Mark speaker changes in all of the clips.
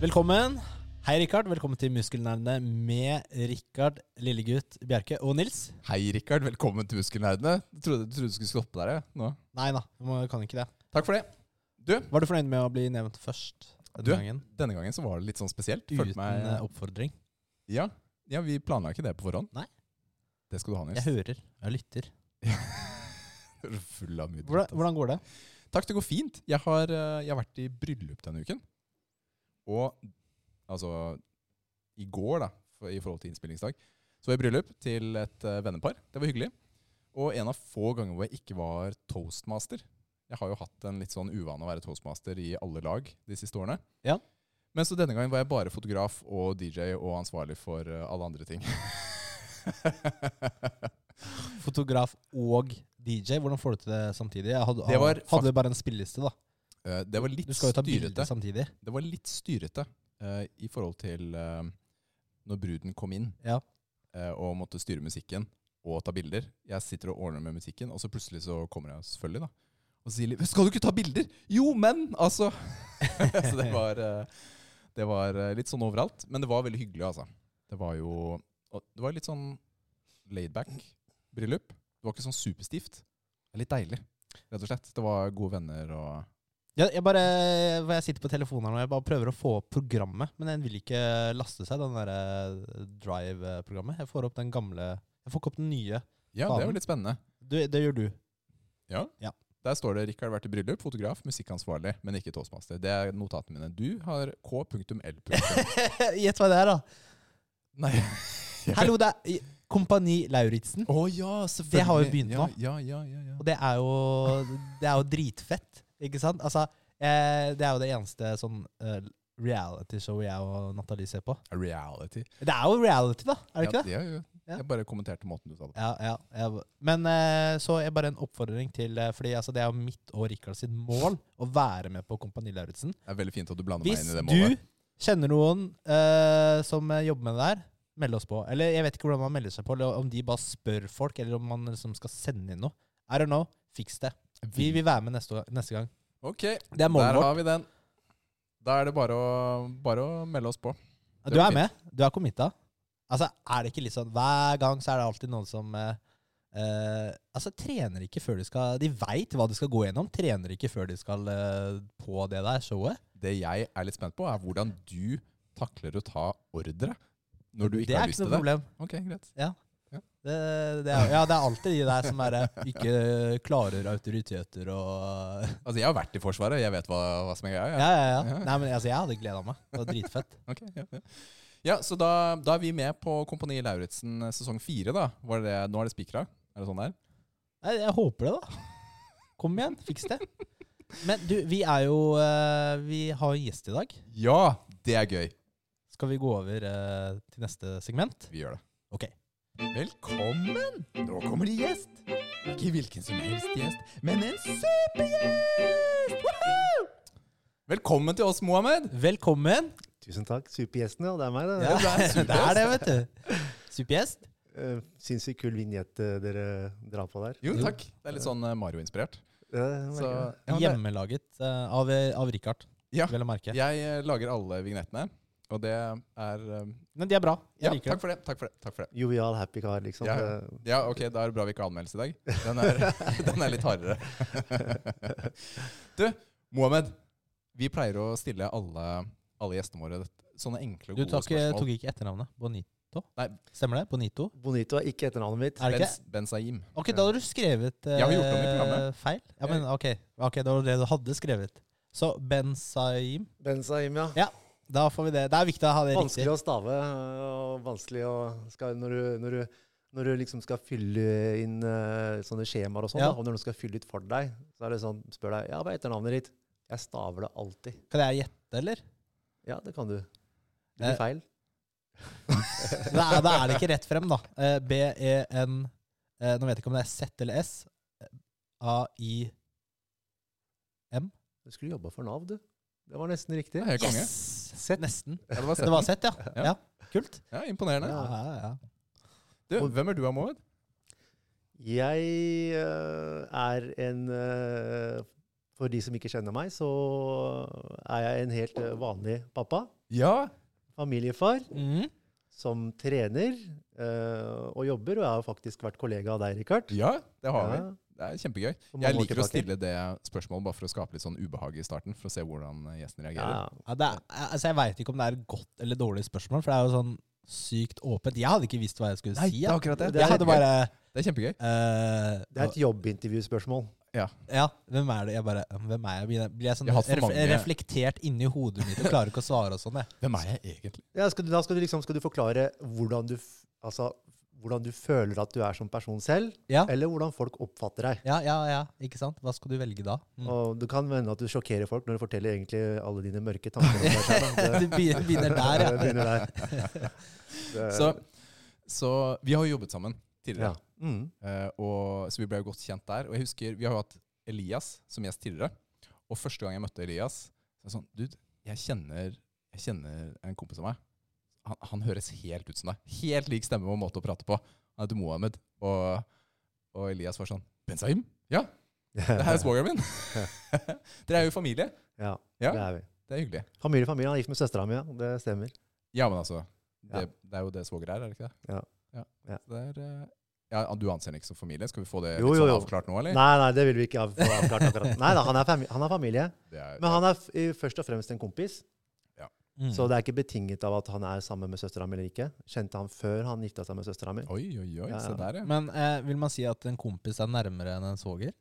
Speaker 1: Velkommen. Hei, Rikard. Velkommen til Muskelnerdene med Rikard, lillegutt Bjerke og Nils.
Speaker 2: Hei, Rikard. Velkommen til Muskelnerdene. Jeg trodde, jeg trodde du skulle stoppe der. jeg, nå.
Speaker 1: Nei da, du må- kan ikke det.
Speaker 2: Takk for det.
Speaker 1: Var du fornøyd med å bli nevnt først? Denne
Speaker 2: Du,
Speaker 1: gangen?
Speaker 2: Denne gangen så var det litt sånn spesielt.
Speaker 1: Uten
Speaker 2: Følte meg-
Speaker 1: eh, oppfordring.
Speaker 2: ja. ja, vi planla ikke det på forhånd.
Speaker 1: Nei.
Speaker 2: Det skal du ha,
Speaker 1: Jeg
Speaker 2: Nils.
Speaker 1: hører. Jeg lytter.
Speaker 2: Du er Full av mye
Speaker 1: Hvordan,
Speaker 2: dritt,
Speaker 1: hvordan går det?
Speaker 2: altså. Takk, det går fint. Jeg har, eh, jeg har vært i bryllup denne uken. Og altså I går, da, for, i forhold til innspillingsdag, så var jeg i bryllup til et eh, vennepar. Det var hyggelig. Og en av få ganger hvor jeg ikke var toastmaster. Jeg har jo hatt en litt sånn uvane å være toastmaster i alle lag de siste årene.
Speaker 1: Ja.
Speaker 2: Men så denne gangen var jeg bare fotograf og DJ og ansvarlig for eh, alle andre ting.
Speaker 1: Fotograf og DJ, hvordan får du til det samtidig? Jeg hadde,
Speaker 2: Det var
Speaker 1: hadde du bare en spilleliste, da?
Speaker 2: Eh, det var litt
Speaker 1: Du skal jo ta
Speaker 2: styrete.
Speaker 1: bilder samtidig.
Speaker 2: Det var litt styrete eh, i forhold til eh, når bruden kom inn
Speaker 1: Ja.
Speaker 2: eh, og måtte styre musikken og ta bilder. Jeg sitter og ordner med musikken, og så plutselig så kommer jeg selvfølgelig da. Og så sier Liv 'Skal du ikke ta bilder?' Jo, men! Altså. så det var, eh, det var eh, litt sånn overalt. Men det var veldig hyggelig, altså. Det var jo og Det var litt sånn laidback bryllup. Det var ikke sånn superstivt. Det er litt deilig, rett og slett. Det var gode venner og
Speaker 1: Jeg, jeg bare hvor Jeg sitter på telefonen her nå, jeg bare prøver å få opp programmet, men den vil ikke laste seg, den derre Drive-programmet. Jeg får opp den gamle Jeg får ikke opp den nye.
Speaker 2: Ja, det
Speaker 1: Faen.
Speaker 2: var litt spennende.
Speaker 1: Du, det gjør du.
Speaker 2: Der står det 'Rikard har vært i bryllup, fotograf, musikkansvarlig, men ikke toastmaster'. Det er notatene mine. Du har k.l.
Speaker 1: Gjett hva det er, da.
Speaker 2: Nei.
Speaker 1: Hallo, det er Kompani Lauritzen.
Speaker 2: Å ja, selvfølgelig.
Speaker 1: Det har jo begynt
Speaker 2: ja,
Speaker 1: nå.
Speaker 2: Ja, ja, ja, ja.
Speaker 1: Og det er jo, det er jo dritfett, ikke sant? Altså, eh, det er jo det eneste sånn eh, reality-show jeg og Nathalie ser på.
Speaker 2: Reality.
Speaker 1: Det er jo reality, da. Er det ikke det?
Speaker 2: Ja, ja, ja.
Speaker 1: Ja.
Speaker 2: Jeg bare kommenterte måten du sa det på.
Speaker 1: Ja, ja, ja. Men eh, så er bare en oppfordring til eh, Fordi altså, det er jo mitt og Rikard sitt mål å være med på Kompani Lauritzen.
Speaker 2: Det er veldig fint at du blander
Speaker 1: Hvis
Speaker 2: meg inn i det
Speaker 1: du
Speaker 2: målet.
Speaker 1: kjenner noen eh, som eh, jobber med det der, meld oss på. Eller jeg vet ikke hvordan man melder seg på, eller om de bare spør folk, eller om man liksom skal sende inn noe. I don't know. Fiks det. Vi vil være med neste, neste gang.
Speaker 2: Ok,
Speaker 1: Det er målet
Speaker 2: der
Speaker 1: vårt.
Speaker 2: har vi den. Da er det bare å, bare å melde oss på. det
Speaker 1: Du
Speaker 2: var
Speaker 1: er med. Du er committa. Altså, er det ikke litt sånn Hver gang så er det alltid noen som eh, eh, Altså, trener ikke før de skal De veit hva de skal gå gjennom. Trener ikke før de skal eh, på det der showet.
Speaker 2: Det jeg er litt spent på, er hvordan du takler å ta ordre når du ikke
Speaker 1: det
Speaker 2: har
Speaker 1: er
Speaker 2: lyst
Speaker 1: ikke
Speaker 2: til
Speaker 1: noe
Speaker 2: det.
Speaker 1: problem.
Speaker 2: Ok, greit.
Speaker 1: Det, det er, ja, det er alltid de der som er, eh, ikke klarer autoriteter og
Speaker 2: Altså, jeg har vært i Forsvaret. Jeg vet hva, hva som er greia. jeg.
Speaker 1: Ja, ja, ja.
Speaker 2: Ja.
Speaker 1: Nei, men altså, jeg hadde gleda meg. Det var dritfett.
Speaker 2: Ok, ja, ja. ja så da, da er vi med på Kompani Lauritzen eh, sesong fire, da. Var det, nå er det spikra? Er det sånn der?
Speaker 1: Nei, jeg håper det, da. Kom igjen, fiks det. Men du, vi er jo eh, Vi har jo en gjest i dag.
Speaker 2: Ja, det er gøy.
Speaker 1: Skal vi gå over eh, til neste segment?
Speaker 2: Vi gjør det.
Speaker 1: Ok.
Speaker 2: Velkommen! Nå kommer det gjest. Ikke hvilken som helst gjest, men en supergjest! Woohoo! Velkommen til oss, Mohammed.
Speaker 1: Velkommen.
Speaker 3: Tusen takk. Supergjestene, og det er meg, det.
Speaker 1: Ja,
Speaker 2: det er supergjest.
Speaker 1: det er det, vet du. Supergjest.
Speaker 3: Eh, Sinnssykt kul vignett eh, dere drar på der.
Speaker 2: Jo, takk. Det er litt sånn eh, Mario-inspirert.
Speaker 3: Det er
Speaker 2: Så,
Speaker 3: veldig bra.
Speaker 2: ja, men det-
Speaker 1: Hjemmelaget eh, av, av Richard,
Speaker 2: Ja.
Speaker 1: vel å merke.
Speaker 2: Jeg eh, lager alle vignettene, og det er eh,
Speaker 1: Men de er bra. Jeg
Speaker 2: Ja,
Speaker 1: liker
Speaker 2: takk for det. Takk for det. Takk for det.
Speaker 3: Jovial, happy kar, liksom.
Speaker 2: Ja, ja.
Speaker 3: Det-
Speaker 2: Ja, ok, da er det bra vi ikke har anmeldelse i dag. Den er, den er litt hardere. Du, Mohammed. Vi pleier å stille alle, alle gjestene våre det- sånne enkle,
Speaker 1: det. Du
Speaker 2: gode
Speaker 1: tok,
Speaker 2: spørsmål.
Speaker 1: tok ikke etternavnet. Bonito?
Speaker 2: Nei.
Speaker 1: Stemmer det? Bonito?
Speaker 3: Bonito er ikke etternavnet mitt.
Speaker 1: Er det ikke?
Speaker 2: Ben, ben Saim.
Speaker 1: Ok, da har du skrevet eh,
Speaker 2: Jeg har gjort om i programmet.
Speaker 1: feil. Ja, men ok. ok, det var det du hadde skrevet. Så Benzaim
Speaker 3: Benzaim, ja.
Speaker 1: Da får vi det. Det er viktig å ha det riktig.
Speaker 3: Vanskelig å stave. eh, Og vanskelig å skal, når, du, når, du, når du liksom skal fylle inn eh, sånne skjemaer og sånn,
Speaker 1: Ja.
Speaker 3: da, og når noen skal fylle ut for deg, så er det sånn, spør deg ja, hva er etternavnet ditt. Jeg staver det alltid.
Speaker 1: Kan jeg gjette, eller?
Speaker 3: Ja, det kan du.
Speaker 1: Eh,
Speaker 3: Det blir feil.
Speaker 1: Da er, da er det ikke rett frem, da. Eh, B-E-N eh, Nå vet jeg ikke om det er Z eller S. Eh, A-I
Speaker 3: Du skulle jobba for Nav, du. Det var nesten
Speaker 2: Det
Speaker 3: riktig.
Speaker 2: er helt konge.
Speaker 1: Yes!
Speaker 3: Sett.
Speaker 1: Nesten.
Speaker 2: Ja, det var
Speaker 1: Det
Speaker 2: sett.
Speaker 1: var Z, ja.
Speaker 2: Ja.
Speaker 1: ja. Kult.
Speaker 2: Ja, imponerende.
Speaker 3: Ja.
Speaker 1: Ja, ja, ja.
Speaker 2: Du, hvem er du, Mohammed?
Speaker 3: Jeg eh, er en eh, For de som ikke kjenner meg, så er jeg en helt eh, vanlig pappa.
Speaker 2: Ja.
Speaker 3: Familiefar
Speaker 2: Mhm.
Speaker 1: Mm.
Speaker 3: som trener eh, og jobber, og jeg har faktisk vært kollega av deg, Rikard.
Speaker 2: ja, det har vi.
Speaker 3: Ja,
Speaker 2: Det er kjempegøy.
Speaker 3: for mange
Speaker 2: Jeg
Speaker 3: år
Speaker 2: liker å
Speaker 3: tilbake.
Speaker 2: stille det spørsmålet bare for å skape litt sånn ubehag i starten, for å se hvordan eh, gjesten reagerer.
Speaker 3: Ja.
Speaker 1: Ja, det er, altså jeg veit ikke om det er et godt eller dårlig spørsmål, for det er jo sånn sykt åpent. Jeg hadde ikke visst hva jeg skulle
Speaker 2: Nei,
Speaker 1: si.
Speaker 2: det er
Speaker 1: Jeg,
Speaker 2: akkurat det.
Speaker 3: Det
Speaker 1: jeg
Speaker 2: er
Speaker 1: hadde
Speaker 2: kjempegøy.
Speaker 1: bare
Speaker 2: Det er kjempegøy.
Speaker 1: eh,
Speaker 3: Det er et jobbintervjuspørsmål.
Speaker 1: Ja, hvem er det? Jeg bare "Hm, Hvem er jeg? Blir jeg, blir jeg sånn
Speaker 2: Jeg har hatt for
Speaker 1: ref,
Speaker 2: mange-
Speaker 1: reflektert inni hodet mitt og klarer ikke å svare og sånn, jeg.
Speaker 2: Hvem er jeg egentlig?
Speaker 3: Ja, skal du, da skal du, liksom, skal du forklare hvordan du, f- altså, hvordan du føler at du er som person selv,
Speaker 1: Ja.
Speaker 3: eller hvordan folk oppfatter deg.
Speaker 1: Ja, ja, ja. Ikke sant? Hva skal du velge da? Mm.
Speaker 3: Og det kan hende at du sjokkerer folk når du forteller egentlig alle dine mørke tanker. om deg selv, da.
Speaker 1: Du
Speaker 3: Det-
Speaker 1: begynner begynner der,
Speaker 3: det
Speaker 1: ja.
Speaker 3: begynner der. Det-
Speaker 2: Så, så vi har jo jobbet sammen tidligere.
Speaker 3: ja. Mm.
Speaker 2: Eh, og, så vi ble jo godt kjent der. Og jeg husker, vi har jo hatt Elias som gjest tidligere. Og første gang jeg møtte Elias, så var jeg sånn Dude, jeg kjenner, jeg kjenner en kompis av meg. Han, han høres helt ut som deg. Helt lik stemme og måte å prate på. Han heter Mohammed. Og, og Elias var sånn Benzaim? Ja, det her er svogeren min! Dere er jo familie.
Speaker 3: Ja,
Speaker 2: Ja.
Speaker 3: det er vi.
Speaker 2: Det er hyggelig.
Speaker 3: Familie, familie. Han er gift med søstera mi, ja. Det stemmer.
Speaker 2: Ja, men altså
Speaker 3: Ja.
Speaker 2: Det, det er jo det svoger er, er det ikke det?
Speaker 3: Ja. Ja.
Speaker 2: ja. Så det er, eh, ja du anser den ikke som familie? Skal vi få det
Speaker 3: Jo,
Speaker 2: litt
Speaker 3: jo,
Speaker 2: sånn
Speaker 3: jo.
Speaker 2: avklart nå, eller?
Speaker 3: Nei, nei, det vil vi ikke ha få avklart akkurat. Nei da, han er, fami han er familie.
Speaker 2: Det er,
Speaker 3: Men han er f i- først og fremst en kompis,
Speaker 1: Mm.
Speaker 3: så det er ikke betinget av at han er sammen med søstera mi eller ikke. Kjente han før han gifta seg med søstera mi?
Speaker 2: Oi, oi, oi.
Speaker 3: Ja,
Speaker 2: Se
Speaker 3: ja.
Speaker 2: der, ja.
Speaker 1: Men eh, vil man si at en kompis er nærmere enn en svoger?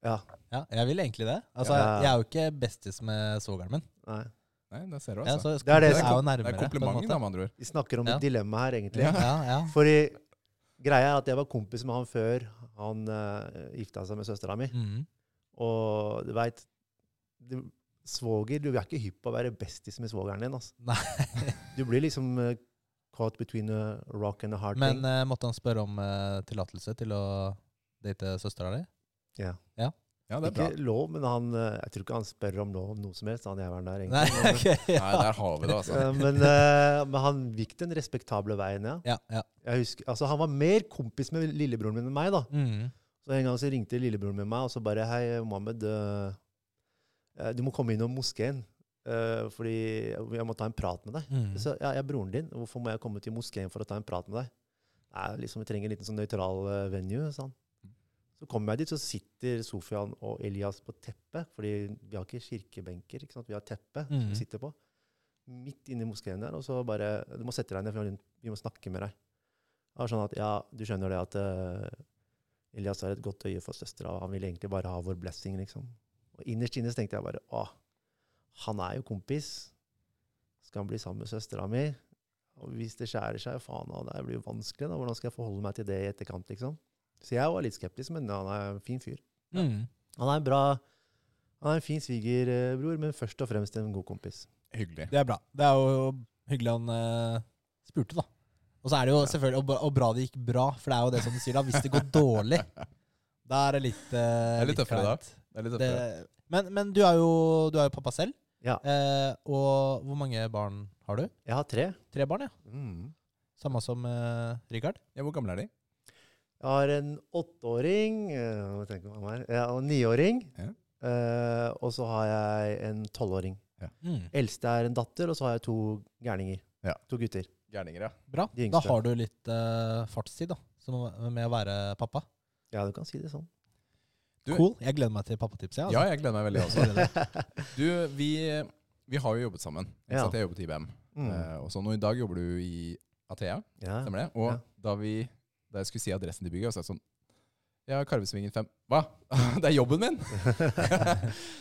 Speaker 3: Ja.
Speaker 1: Ja, jeg vil egentlig det. Altså,
Speaker 3: Ja.
Speaker 1: Jeg er jo ikke bestis med svogeren min.
Speaker 3: Nei.
Speaker 2: Nei, der ser du,
Speaker 1: Ja,
Speaker 2: altså.
Speaker 1: så
Speaker 3: er det
Speaker 1: kompis
Speaker 3: som-
Speaker 1: er jo
Speaker 2: det
Speaker 1: nærmere. på
Speaker 2: er
Speaker 1: en
Speaker 2: komplimenten,
Speaker 1: måte.
Speaker 2: da, med andre ord.
Speaker 3: Vi snakker om
Speaker 1: Ja.
Speaker 3: dilemmaet her, egentlig.
Speaker 2: Ja.
Speaker 1: Ja, ja.
Speaker 3: Fordi greia er at jeg var kompis med han før han eh, gifta seg med søstera mi.
Speaker 1: Mm.
Speaker 3: Og du veit Svoger Du er ikke hypp på å være bestis med svogeren din. Altså. Du blir liksom eh, caught between a rock and a hard
Speaker 1: Men
Speaker 3: thing.
Speaker 1: eh, måtte han spørre om eh, tillatelse til å date søstera di?
Speaker 2: Ja,
Speaker 1: eh,
Speaker 2: det er bra.
Speaker 3: ikke lov, men han, eh, jeg tror ikke han spør om lov, noe som helst, han jævelen der.
Speaker 1: Nei,
Speaker 3: egentlig. Men-
Speaker 1: ok. Ja,
Speaker 2: Nei, der har vi det, altså.
Speaker 3: Eh, Men, eh, men han gikk den respektable veien, ja.
Speaker 1: ja. ja.
Speaker 3: Jeg husker, altså, han var mer kompis med lillebroren min enn meg, da.
Speaker 1: Mm.
Speaker 3: Så en gang så ringte lillebroren min meg, og så bare Hei, Mohammed, eh, eh, du må komme innom moskeen. eh, fordi jeg må ta en prat med deg.
Speaker 1: Mm.
Speaker 3: Så ja, jeg er broren din. Hvorfor må jeg komme til moskeen for å ta en prat med deg? Nei, liksom, Vi trenger en liten sånn nøytral eh, venue. sa han. Så kommer jeg dit, så sitter Sofian og Elias på teppet. fordi vi har ikke kirkebenker, ikke sant? vi har teppe som
Speaker 1: Mhm.
Speaker 3: vi sitter på. Midt inne i moskeen der. Og så bare Du må sette deg ned, for vi må- vi må snakke med deg. Det var sånn at, ja, Du skjønner det at eh, Elias har et godt øye for søstera, og han vil egentlig bare ha vår blessing, liksom. Og innerst inne så tenkte jeg bare Å, han er jo kompis skal han bli sammen med søstera mi? Og hvis det skjærer seg, faen, da, det blir jo vanskelig. da, Hvordan skal jeg forholde meg til det i etterkant? liksom? Så jeg var litt skeptisk, men han er en fin fyr.
Speaker 1: Mm.
Speaker 3: Han er en bra, han er en fin svigerbror, men først og fremst en god kompis.
Speaker 2: Hyggelig.
Speaker 1: Det er bra. Det er jo hyggelig han eh, spurte, da. Og så er det jo selvfølgelig, og bra, og bra det gikk bra, for det er jo det som du sier, da. Hvis det går dårlig, da er det litt eh,
Speaker 2: Det er litt tøffere da.
Speaker 1: kleint.
Speaker 2: Det er litt
Speaker 1: Det,
Speaker 2: tøffere.
Speaker 1: men men du, er jo, du er jo pappa selv.
Speaker 3: Ja.
Speaker 1: Eh, og hvor mange barn har du?
Speaker 3: Jeg har tre.
Speaker 1: Tre barn, ja.
Speaker 3: Mm.
Speaker 1: Samme som eh, Richard.
Speaker 2: sånn- Ja, hvor gamle er de?
Speaker 3: Jeg har en åtteåring eh, hva tenker jeg om her? Ja, og en niåring.
Speaker 2: Ja.
Speaker 3: Eh, og så har jeg en tolvåring.
Speaker 1: Mm.
Speaker 3: Eldste er en datter, og så har jeg to gærninger.
Speaker 2: Ja.
Speaker 3: To gutter.
Speaker 2: Gærninger, ja.
Speaker 1: Bra.
Speaker 3: De
Speaker 1: Da
Speaker 3: yngste.
Speaker 1: har du litt eh, fartstid da, som, med å være pappa.
Speaker 3: Ja, du kan si det sånn.
Speaker 2: Du-
Speaker 1: cool. Jeg gleder meg til pappatipset.
Speaker 2: Ja,
Speaker 1: jeg,
Speaker 2: jeg gleder meg veldig også.
Speaker 1: Altså.
Speaker 2: Du, vi, vi har jo jobbet sammen. Ikke
Speaker 3: Ja.
Speaker 2: sant? Jeg jobbet i IBM.
Speaker 3: Mm.
Speaker 2: Eh, og sånn, og i dag jobber du i Athea,
Speaker 3: Ja.
Speaker 2: stemmer det? Og
Speaker 3: Ja.
Speaker 2: da, vi, da jeg skulle si adressen til bygget, så er jeg sånn Ja, Karvesvingen 5. Hva? Det er jobben min!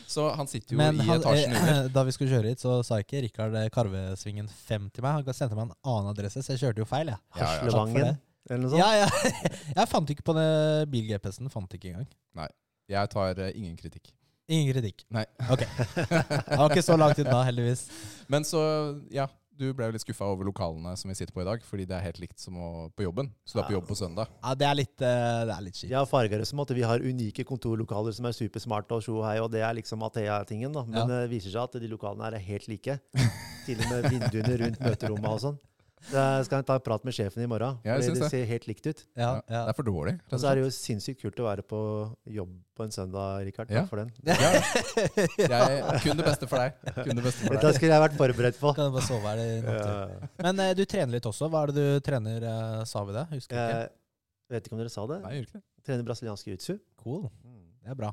Speaker 2: så han sitter jo
Speaker 1: Men
Speaker 2: i
Speaker 1: han,
Speaker 2: etasjen under.
Speaker 1: eh, da vi skulle kjøre hit, så sa ikke Rikard eh, Karvesvingen 5 til meg. Han sendte meg en annen adresse, så jeg kjørte jo feil, jeg.
Speaker 2: Ja, ja.
Speaker 3: Haslevangen, eller
Speaker 2: Sånn.
Speaker 3: noe sånt.
Speaker 1: Ja, ja. Jeg fant ikke på den bil-GPS-en. Fant ikke engang.
Speaker 2: Jeg tar eh, ingen kritikk.
Speaker 1: Ingen kritikk.
Speaker 2: Nei.
Speaker 1: Ok. Det var ikke så langt unna, heldigvis.
Speaker 2: Men så, ja, du ble jo litt skuffa over lokalene som vi sitter på i dag, fordi det er helt likt som å, på jobben. Så du er på
Speaker 3: Ja.
Speaker 2: jobb på søndag.
Speaker 1: Ja, det er litt, eh, det er litt kjipt.
Speaker 3: Jeg farger det som at vi har unike kontorlokaler som er supersmarte, og, sjo og hei, og det er liksom Athea-tingen. da. Men
Speaker 1: Ja.
Speaker 3: det viser seg at de lokalene her er helt like. Til og med vinduene rundt møterommet og sånn. Jeg skal ta en prat med sjefen i morgen.
Speaker 2: Ja, jeg
Speaker 3: fordi
Speaker 2: syns
Speaker 3: det
Speaker 2: det.
Speaker 3: ser helt likt ut.
Speaker 1: Ja,
Speaker 2: Ja,
Speaker 1: ja.
Speaker 2: Det er for dårlig. rett
Speaker 3: Og
Speaker 2: og
Speaker 3: så er
Speaker 2: slett.
Speaker 3: det jo sinnssykt kult å være på jobb på en søndag, Rikard. Takk
Speaker 2: Ja.
Speaker 3: for den.
Speaker 2: Ja, jeg, kun det beste for deg. Kun det beste for
Speaker 3: Dette
Speaker 2: deg.
Speaker 3: skulle jeg vært forberedt på.
Speaker 1: Kan du bare sove her i natt. du.
Speaker 3: Ja.
Speaker 1: Men eh, du trener litt også. Hva er det du trener, eh, sa vi det? Husker jeg ikke.
Speaker 3: Jeg vet ikke om dere sa det.
Speaker 2: Nei, gjør ikke det.
Speaker 3: Trener brasiliansk jiu-jitsu.
Speaker 1: Cool. Det er bra.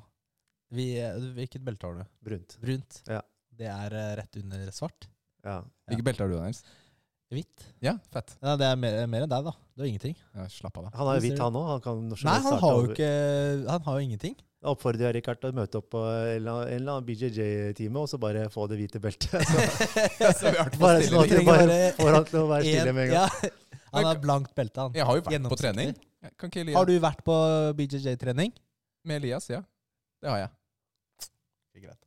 Speaker 1: Vi, eh, hvilket belte har du?
Speaker 3: Brunt.
Speaker 1: Brunt.
Speaker 3: Ja.
Speaker 1: Det er eh, rett under svart.
Speaker 3: Ja.
Speaker 2: Hvilke belter har du, Nils?
Speaker 1: Hvitt.
Speaker 2: Ja, fett.
Speaker 1: Ja, det er mer, mer enn deg, da. Du har ingenting.
Speaker 2: Ja, slapp av, da.
Speaker 3: Han har jo
Speaker 1: Det ser
Speaker 3: hvitt,
Speaker 1: du.
Speaker 3: han òg. Han kan når som
Speaker 1: Nei,
Speaker 3: helst
Speaker 1: han
Speaker 3: starte
Speaker 1: har jo
Speaker 3: over.
Speaker 1: ikke Han har jo ingenting.
Speaker 3: Jeg oppfordrer jeg Rikard til å møte opp på en eller annen- en eller annen BJJ-time og så bare få det hvite beltet. Så
Speaker 2: Så vi har vært på
Speaker 3: bare sånn at du
Speaker 2: stilling.
Speaker 1: trenger
Speaker 3: bare
Speaker 1: bare
Speaker 3: får han til å være stille
Speaker 1: En-
Speaker 3: med en gang.
Speaker 1: ja. Han har blankt belte, han.
Speaker 2: Jeg har jo vært på
Speaker 1: Gjennomsiktig.
Speaker 2: trening. Jeg Kan ikke Elias
Speaker 1: Har du vært på BJJ-trening?
Speaker 2: Med Elias, ja. Det har jeg. Greit.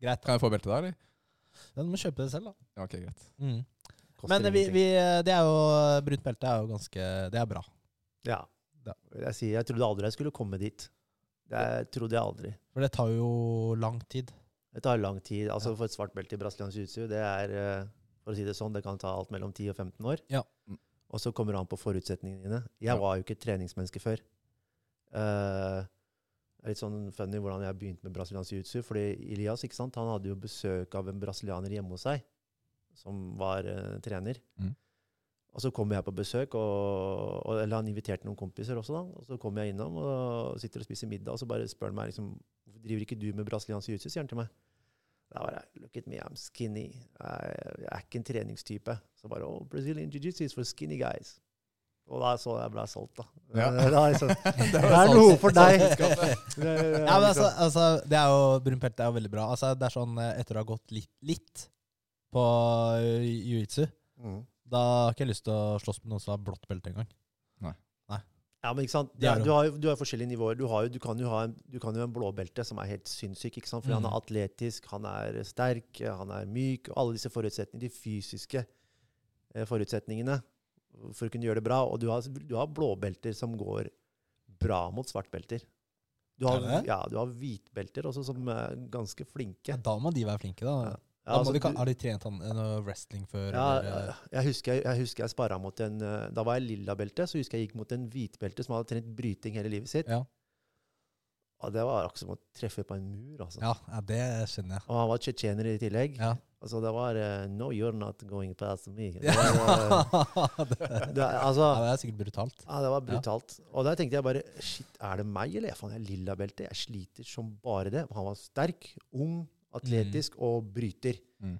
Speaker 1: Greit.
Speaker 2: Kan jeg få belte da, eller?
Speaker 1: Men du må kjøpe det selv, da.
Speaker 2: Ja, ok, greit.
Speaker 1: Mm.
Speaker 3: Koster
Speaker 1: Men vi,
Speaker 3: ingenting.
Speaker 1: vi, det er jo Brunt belte er jo ganske Det er bra.
Speaker 3: Ja.
Speaker 1: Ja.
Speaker 3: Jeg, sier, jeg trodde aldri jeg skulle komme dit. Det er- trodde jeg aldri.
Speaker 1: For det tar jo lang tid.
Speaker 3: Det tar lang tid. Altså For et svart belte i brasiliansk jiu-jitsu, det er eh, for å si det sånn, det kan ta alt mellom 10 og 15 år.
Speaker 1: Ja.
Speaker 2: Mm.
Speaker 3: Og så kommer det an på forutsetningene dine.
Speaker 2: Ja.
Speaker 3: Jeg var jo ikke et treningsmenneske før. Eh, det er litt sånn funny hvordan jeg begynte med brasiliansk jiu-jitsu. Fordi Elias ikke sant, han hadde jo besøk av en brasilianer hjemme hos seg, som var eh, trener.
Speaker 2: Mm.
Speaker 3: Og så kom jeg på besøk, og, og, eller han inviterte noen kompiser også, da. Og så kom jeg innom og sitter og spiser middag, og så bare spør han meg liksom Hvorfor driver ikke du med brasiliansk jiu-jitsu? sier han til meg. Da var jeg Look at me, I'm skinny. Jeg, jeg er ikke en treningstype. Så bare Oh, Brazilian jiu-jitsu is for skinny guys. Og da så jeg ble solgt, da.
Speaker 2: Ja.
Speaker 3: Da er jeg sånn,
Speaker 2: Det
Speaker 3: Det
Speaker 2: var
Speaker 3: er noe for deg!
Speaker 2: salgskapet.
Speaker 3: Det er- det er
Speaker 1: Sånn Ja, men altså,
Speaker 3: liksom-
Speaker 1: altså det er jo, Brunt belte er jo veldig bra. Altså, det er sånn eh, etter å ha gått litt, litt på eh, jiu-jitsu
Speaker 3: Mm.
Speaker 1: Da har ikke jeg lyst til å slåss med noen som har blått belte engang.
Speaker 3: Ja, men ikke sant?
Speaker 1: Det er
Speaker 3: Det-
Speaker 1: det.
Speaker 3: du, har, jo- du har jo forskjellige nivåer. Du, har jo, du, kan jo ha en, du kan jo ha en blåbelte som er helt sinnssyk, ikke sant? fordi han
Speaker 1: Mm.
Speaker 3: er atletisk, han er sterk, han er myk, og alle disse forutsetningene, de fysiske eh, forutsetningene for å kunne gjøre det bra. Og du har, du har blåbelter som går bra mot svartbelter. Du har,
Speaker 1: Er det?
Speaker 3: ja, du har hvitbelter også som er ganske flinke.
Speaker 1: Ja, da må de være flinke, da.
Speaker 3: Ja,
Speaker 1: da
Speaker 3: altså,
Speaker 1: må de, kan-
Speaker 3: du-
Speaker 1: har de trent an- eh, noe wrestling før? eller,
Speaker 3: Ja,
Speaker 1: eh,
Speaker 3: jeg husker jeg, jeg, husker jeg sparra mot en eh, Da var jeg lilla belte, så husker jeg gikk mot en hvitbelte som hadde trent bryting hele livet sitt.
Speaker 1: ja.
Speaker 3: Og det var akkurat som å treffe på en mur, altså.
Speaker 1: Ja, ja, det skjønner jeg.
Speaker 3: Og han var tsjetsjener i tillegg.
Speaker 1: Ja.
Speaker 3: Altså, det var eh, No, you're not going past me. Det
Speaker 1: Ja.
Speaker 3: var,
Speaker 1: det, ja,
Speaker 3: eh, det, altså,
Speaker 1: det er sikkert brutalt.
Speaker 3: ja, det var brutalt. Og der tenkte jeg bare Shit, er det meg, eller? Faen, jeg er lilla belte. Jeg sliter som bare det. Han var sterk, ung, atletisk og bryter.
Speaker 2: Mm.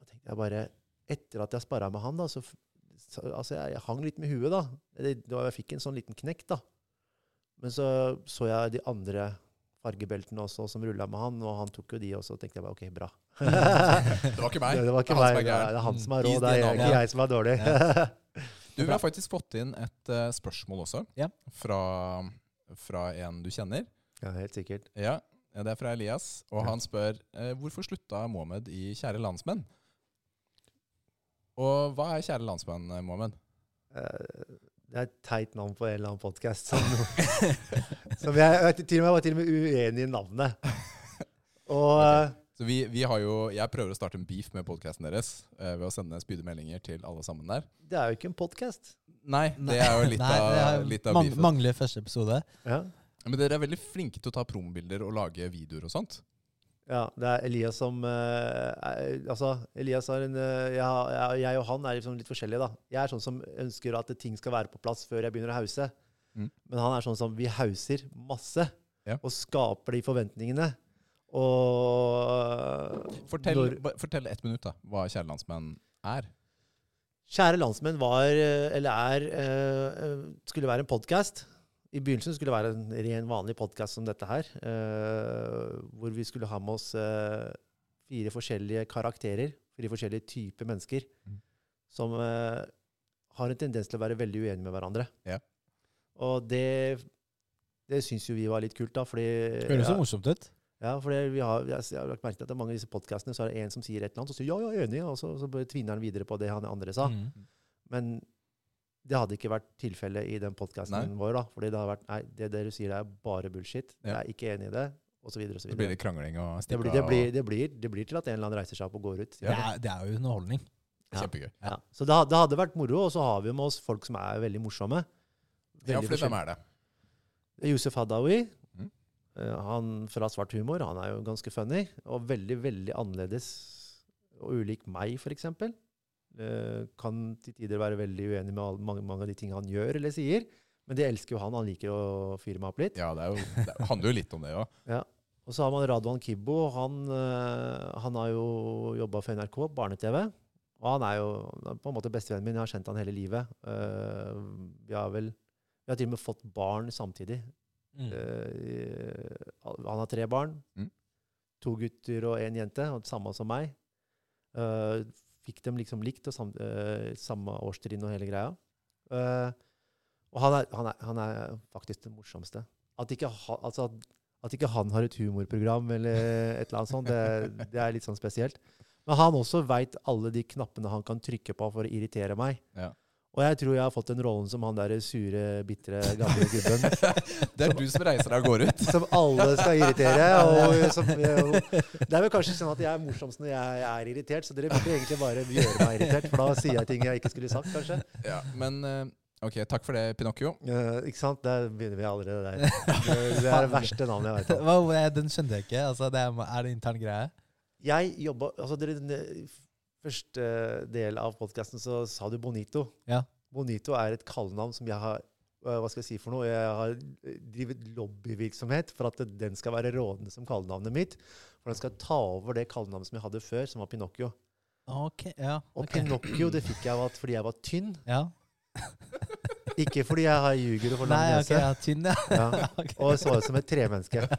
Speaker 3: Da tenkte jeg bare Etter at jeg sparra med han, da, så, f- så Altså, jeg, jeg hang litt med huet, da. Det, det var, jeg fikk en sånn liten knekk, da. Men så så jeg de andre fargebeltene også som rulla med han, og han tok jo de også, og tenkte jeg bare OK, bra.
Speaker 2: Det var ikke meg.
Speaker 3: Det, det var ikke
Speaker 2: er han som
Speaker 3: meg.
Speaker 2: er gæren. Mm.
Speaker 3: Det er han som er rå.
Speaker 2: Is
Speaker 3: Det er
Speaker 2: DNA.
Speaker 3: ikke jeg som er dårlig.
Speaker 2: Du, vi har faktisk fått inn et eh, spørsmål også,
Speaker 1: Ja.
Speaker 2: fra, fra en du kjenner.
Speaker 3: Ja, helt sikkert.
Speaker 2: Ja, det er fra Elias, og
Speaker 3: Ja.
Speaker 2: han spør eh, hvorfor slutta Mohammed i Kjære landsmenn? Og hva er Kjære landsmenn, eh, Mohammed?
Speaker 3: Eh, Det er et teit navn på en eller annen podkast. Som, som jeg, jeg, til og med, jeg var til og med uenig i navnet. Og eh,
Speaker 2: Så vi, vi har jo, Jeg prøver å starte en beef med podkasten deres eh, ved å sende spydige meldinger til alle sammen der.
Speaker 3: det er jo ikke en podkast.
Speaker 2: Nei, det er jo litt
Speaker 1: Nei, det er-
Speaker 2: av, litt av
Speaker 1: mang-
Speaker 2: beefen.
Speaker 1: Mangler første episode.
Speaker 3: Ja.
Speaker 2: Men dere er veldig flinke til å ta promobilder og lage videoer og sånt.
Speaker 3: ja, det er Elias som eh, er, Altså, Elias har en eh, jeg, har- jeg, jeg og han er liksom litt forskjellige, da. Jeg er sånn som ønsker at ting skal være på plass før jeg begynner å hause.
Speaker 2: Mm.
Speaker 3: Men han er sånn som Vi hauser masse,
Speaker 2: Ja.
Speaker 3: og skaper de forventningene. Og
Speaker 2: Fortell,
Speaker 3: Når-
Speaker 2: ba- fortell ett minutt da, hva Kjære landsmenn er.
Speaker 3: Kjære landsmenn var, eh, eller er, eh, eh, skulle være en podkast. I begynnelsen skulle det være en ren, vanlig podkast som dette her. eh, Hvor vi skulle ha med oss eh, fire forskjellige karakterer, fire forskjellige typer mennesker,
Speaker 2: Mm.
Speaker 3: som eh, har en tendens til å være veldig uenige med hverandre.
Speaker 2: Ja.
Speaker 3: Og det, det syns jo vi var litt kult, da. Fordi,
Speaker 1: Høres
Speaker 3: ja.
Speaker 1: så morsomt ut.
Speaker 3: Ja, for det, vi har, jeg, jeg har lagt merke til at i mange av disse podkastene så er det en som sier et eller annet, og så sier ja, ja, enig, og så, så bare tvinner han videre på det han andre sa.
Speaker 1: Mm.
Speaker 3: Men det hadde ikke vært tilfellet i den podkasten
Speaker 2: Nei.
Speaker 3: vår, da. Fordi det har vært nei, det dere sier er bare bullshit,
Speaker 2: Ja.
Speaker 3: jeg er ikke enig i det, osv. osv.
Speaker 2: Så blir det krangling og
Speaker 3: Det
Speaker 2: stikka.
Speaker 3: blir, det, blir, det, blir, det blir til at en eller annen reiser seg opp og går ut.
Speaker 1: Det, er, det er jo underholdning.
Speaker 2: Kjempegøy.
Speaker 1: Ja.
Speaker 3: Ja. Så det, ha- det hadde vært moro, og så har vi med oss folk som er veldig morsomme.
Speaker 2: Ja,
Speaker 3: Veldig
Speaker 2: for hvem
Speaker 3: forskjell-
Speaker 2: er det?
Speaker 3: Yousef Hadaoui.
Speaker 2: Mhm.
Speaker 3: eh, Han fra Svart humor. Han er jo ganske funny, og veldig, veldig annerledes og ulik meg, f.eks. Kan til tider være veldig uenig med all- mange, mange av de tingene han gjør eller sier. Men det elsker jo han. Han liker å fyre meg opp litt.
Speaker 2: Ja, det, er jo, det handler jo litt om det òg.
Speaker 3: Og så har man Radwan Kibbo. Han, eh, han har jo jobba for NRK, barne-TV. Og han er jo han er på en måte bestevennen min. Jeg har kjent han hele livet. Eh, vi har vel vi har til og med fått barn samtidig.
Speaker 1: Mm.
Speaker 3: Eh, han har tre barn.
Speaker 2: Mm.
Speaker 3: To gutter og én jente, og samme som meg. Eh, fikk dem liksom likt, og sam, eh, samme årstrinn og hele greia. Eh, og han er, han, er, han er faktisk den morsomste. At ikke, ha, altså at, at ikke han har et humorprogram eller et eller annet sånt, det, det er litt sånn spesielt. Men han også veit alle de knappene han kan trykke på for å irritere meg.
Speaker 2: Ja.
Speaker 3: Og jeg tror jeg har fått den rollen som han der sure, bitre gamle gubben
Speaker 2: Det er du som reiser deg og går ut.
Speaker 3: som alle skal irritere. Og som, det er vel kanskje sånn at jeg er morsomst når jeg er irritert, så dere burde egentlig bare gjøre meg irritert, for da sier jeg ting jeg ikke skulle sagt, kanskje.
Speaker 2: Ja, men eh, ok, takk for det, Pinocchio.
Speaker 3: Eh, ikke sant? Der begynner vi allerede der. Det- Det er det verste navnet jeg vet om.
Speaker 1: Hva- hva- den skjønte jeg ikke. Altså, det er, er det intern greie?
Speaker 3: Jeg jobba Altså, dere ne- Første del av podkasten så sa du Bonito.
Speaker 1: Ja.
Speaker 3: Bonito er et kallenavn som jeg har eh, hva skal jeg si for noe? Jeg har eh, drevet lobbyvirksomhet for at den skal være rådende som kallenavnet mitt. For den skal ta over det kallenavnet som jeg hadde før, som var Pinocchio.
Speaker 1: Ok, ja.
Speaker 3: Og
Speaker 1: ok.
Speaker 3: Pinocchio det fikk jeg av at fordi jeg var tynn,
Speaker 1: Ja.
Speaker 3: ikke fordi jeg har ljuger og for lang
Speaker 1: Nei, ok,
Speaker 3: nese.
Speaker 1: ja, tynn, ja.
Speaker 3: Ja.
Speaker 1: Ok.
Speaker 3: Og så ut som et tremenneske.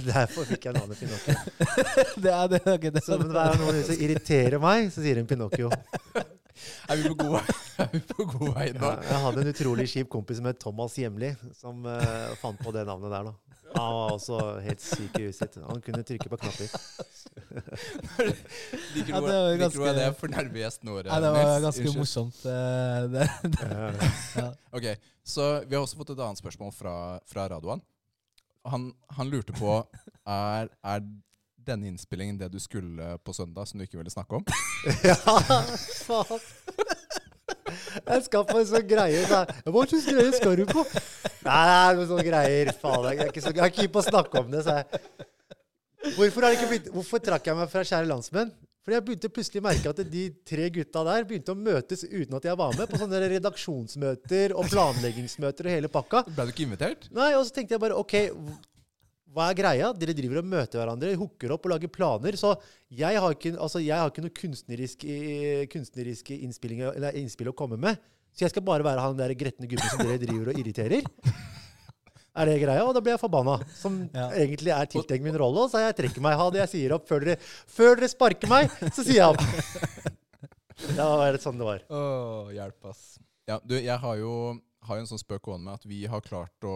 Speaker 3: Derfor fikk jeg navnet Pinocchio.
Speaker 1: Det er det, ok, det
Speaker 3: Så
Speaker 1: er
Speaker 3: men
Speaker 1: det.
Speaker 3: hver gang noen som irriterer meg, så sier hun Pinocchio.
Speaker 2: Er vi på god vei, er vi på god vei nå?
Speaker 3: Ja, jeg hadde en utrolig kjip kompis som het Thomas Hjemli, som eh, fant på det navnet der nå. Han var også helt syk i huet sitt. Han kunne trykke på knapper.
Speaker 2: Liker
Speaker 1: Ja, det
Speaker 2: du
Speaker 1: var jo
Speaker 2: liker du
Speaker 1: ganske-
Speaker 2: det for nerve gjest nå?
Speaker 1: Nei, det var
Speaker 2: Nils?
Speaker 1: ganske
Speaker 2: Unnskyld.
Speaker 1: morsomt. eh, Det, det.
Speaker 3: Eh,
Speaker 2: Ok, så Vi har også fått et annet spørsmål fra, fra Radioan. Han, han lurte på er, er denne innspillingen det du skulle på søndag, som du ikke ville snakke om.
Speaker 3: Ja, faen. Jeg skaff meg sånne greier. Så sånn jeg, Hva slags greier skal du på? Nei, nei, noen sånne greier. Faen, jeg er ikke, så, jeg er ikke hypp på å snakke om det, sa jeg. Hvorfor, har det ikke blitt, hvorfor trakk jeg meg fra Kjære landsmenn? Fordi jeg begynte plutselig å merke at de tre gutta der begynte å møtes uten at jeg var med, på sånne redaksjonsmøter og planleggingsmøter og hele pakka.
Speaker 2: Ble du ikke invitert?
Speaker 3: Nei, og så tenkte jeg bare, ok, hva er greia? Dere driver og møter hverandre, hooker opp og lager planer, så jeg har ikke, altså jeg har ikke noe kunstnerisk, eh, kunstneriske innspilling- eller innspill å komme med, så jeg skal bare være han der gretne gubben som dere driver og irriterer. Er det greia? Og da blir jeg forbanna. Som
Speaker 1: Ja.
Speaker 3: egentlig er tiltenkt min rolle. Så jeg trekker meg. Ha det jeg sier opp. Før dere, før dere sparker meg, så sier jeg opp. Ja, det var sånn det var.
Speaker 2: Å, hjelp, ass. Ja, du, jeg har jo, har jo en sånn spøk gående med at vi har klart å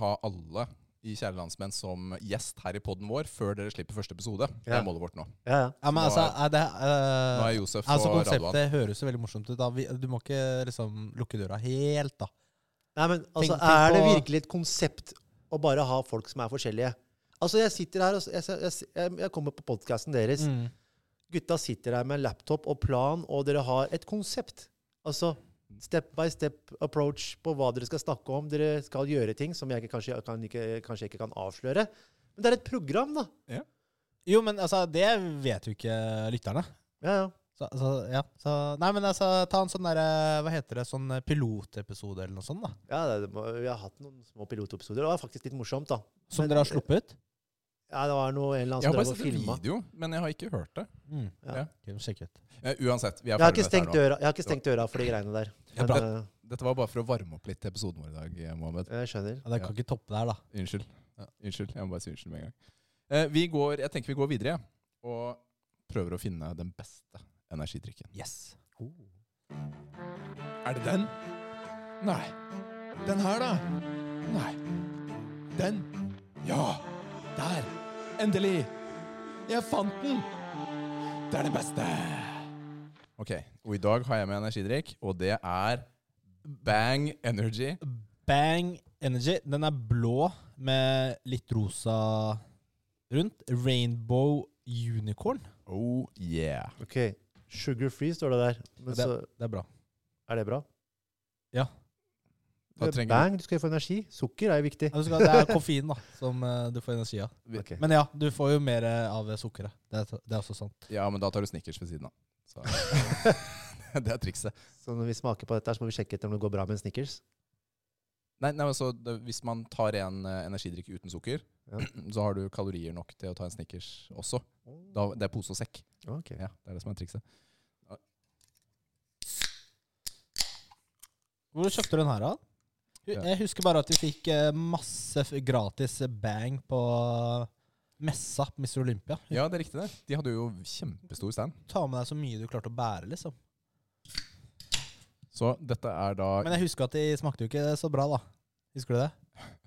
Speaker 2: ha alle i Kjære landsmenn som gjest her i poden vår før dere slipper første episode. Det
Speaker 3: Ja.
Speaker 2: er målet vårt nå.
Speaker 3: Ja, ja.
Speaker 1: Ja, men
Speaker 2: Nå
Speaker 1: altså,
Speaker 2: er-
Speaker 1: er det
Speaker 2: Nå
Speaker 1: eh,
Speaker 2: er Josef
Speaker 1: Altså,
Speaker 2: og Radioan
Speaker 1: konseptet høres jo veldig morsomt ut. Da. Vi, du må ikke liksom lukke døra helt, da.
Speaker 3: Nei, men altså,
Speaker 1: Tenk- tenk
Speaker 3: Er det
Speaker 1: på-
Speaker 3: virkelig et konsept å bare ha folk som er forskjellige? Altså, Jeg sitter her, og s- jeg, jeg, jeg, jeg kommer på podkasten deres.
Speaker 2: Mm.
Speaker 3: Gutta sitter her med laptop og plan, og dere har et konsept. Altså step by step approach på hva dere skal snakke om. Dere skal gjøre ting som jeg ikke, kanskje, kan, ikke, kanskje ikke kan avsløre. Men det er et program, da.
Speaker 1: Jo, men altså, det vet jo ikke lytterne.
Speaker 3: Ja, ja.
Speaker 1: Så, så, ja, så, nei, men altså, ta en sånn derre Hva heter det? Sånn pilotepisode eller noe sånt, da.
Speaker 3: ja det, det må- vi har hatt noen små pilotepisoder. Det var faktisk litt morsomt, da.
Speaker 1: Som
Speaker 3: Men-
Speaker 1: dere har sluppet?
Speaker 3: Ja, det var noe, en eller annen
Speaker 2: Jeg
Speaker 3: som
Speaker 2: har bare
Speaker 3: drev og
Speaker 2: sett en
Speaker 3: filma.
Speaker 2: video, men jeg har ikke hørt det.
Speaker 1: Mm.
Speaker 3: Ja.
Speaker 2: Ja.
Speaker 1: Ok, sjekk ut.
Speaker 2: Eh, uansett, vi er ferdig
Speaker 3: Jeg har ikke
Speaker 2: med dette her
Speaker 3: stengt
Speaker 2: nå.
Speaker 3: døra, jeg har ikke stengt døra for de greiene der.
Speaker 2: Ja,
Speaker 3: Men,
Speaker 2: bra. Dette var bare for å varme opp litt til episoden vår i dag, eh, Mohammed.
Speaker 3: eh, jeg skjønner.
Speaker 1: Ja, det kan ikke toppe det her, da.
Speaker 2: Unnskyld. Unnskyld. Jeg må bare si unnskyld med en gang. Eh, vi går, jeg tenker vi går videre, jeg, og prøver å finne den beste energidrikken.
Speaker 1: Yes.
Speaker 2: Er det den? Nei. Den her, da? Nei. Den? Ja! Der! Endelig! Jeg fant den! Det er det beste! Ok, og i dag har jeg med energidrikk, og det er Bang Energy.
Speaker 1: Bang Energy. Den er blå med litt rosa rundt. Rainbow Unicorn.
Speaker 2: Oh yeah.
Speaker 3: Ok, Sugar free står det der. Men
Speaker 1: Ja,
Speaker 3: så
Speaker 1: Det er bra.
Speaker 3: er det bra.
Speaker 1: Ja.
Speaker 2: Da
Speaker 3: Det er
Speaker 2: trenger du-
Speaker 3: Bang, du skal jo få energi. Sukker er jo viktig.
Speaker 1: Ja, du skal, det er koffein da, som eh, du får energi av.
Speaker 3: Ok.
Speaker 1: Men ja, du får jo mer eh, av sukkeret. Det, er- det er også sant.
Speaker 2: Ja, men da tar du Snickers ved siden av. Så. det er trikset.
Speaker 3: Så når vi smaker på dette, her, så må vi sjekke etter om det går bra med en Snickers.
Speaker 2: Nei, nei, men så det, Hvis man tar en eh, energidrikk uten sukker,
Speaker 3: Ja.
Speaker 2: så har du kalorier nok til å ta en Snickers også. Da, det er pose og sekk.
Speaker 3: Ok.
Speaker 2: Ja, Det er det som er trikset.
Speaker 1: Hvor kjøpte du den her, da? Hu-
Speaker 2: Ja.
Speaker 1: Jeg husker bare at vi fikk eh, masse f- gratis bang på eh, messa på Mr. Olympia.
Speaker 2: Ja, det er riktig, det. De hadde jo kjempestor stand.
Speaker 1: Ta med deg så mye du klarte å bære, liksom.
Speaker 2: Så dette er da
Speaker 1: Men jeg husker at de smakte jo ikke så bra, da. Husker du det?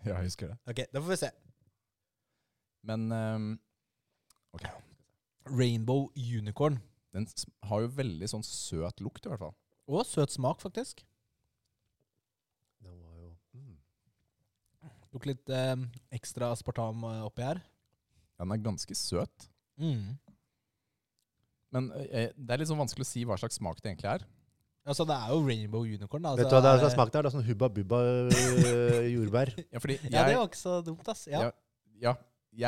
Speaker 2: Ja, jeg husker det.
Speaker 1: Ok, Da får vi se.
Speaker 2: Men ehm,
Speaker 1: Rainbow unicorn.
Speaker 2: den sm- har jo veldig sånn søt lukt, i hvert fall.
Speaker 1: Og søt smak, faktisk.
Speaker 3: Den var jo mm.
Speaker 1: Tok litt eh, ekstra aspartam eh, oppi her.
Speaker 2: Ja, Den er ganske søt.
Speaker 1: Mm.
Speaker 2: Men eh, det er litt sånn vanskelig å si hva slags smak det egentlig er.
Speaker 1: Altså, det er jo rainbow unicorn, da.
Speaker 3: Vet du
Speaker 1: Altså,
Speaker 3: hva det er som har smakt der? Det er sånn hubba bubba øh, jordbær.
Speaker 2: Ja, fordi jeg,
Speaker 1: Ja, det var ikke så dumt, ass. Ja.
Speaker 2: Ja. ja,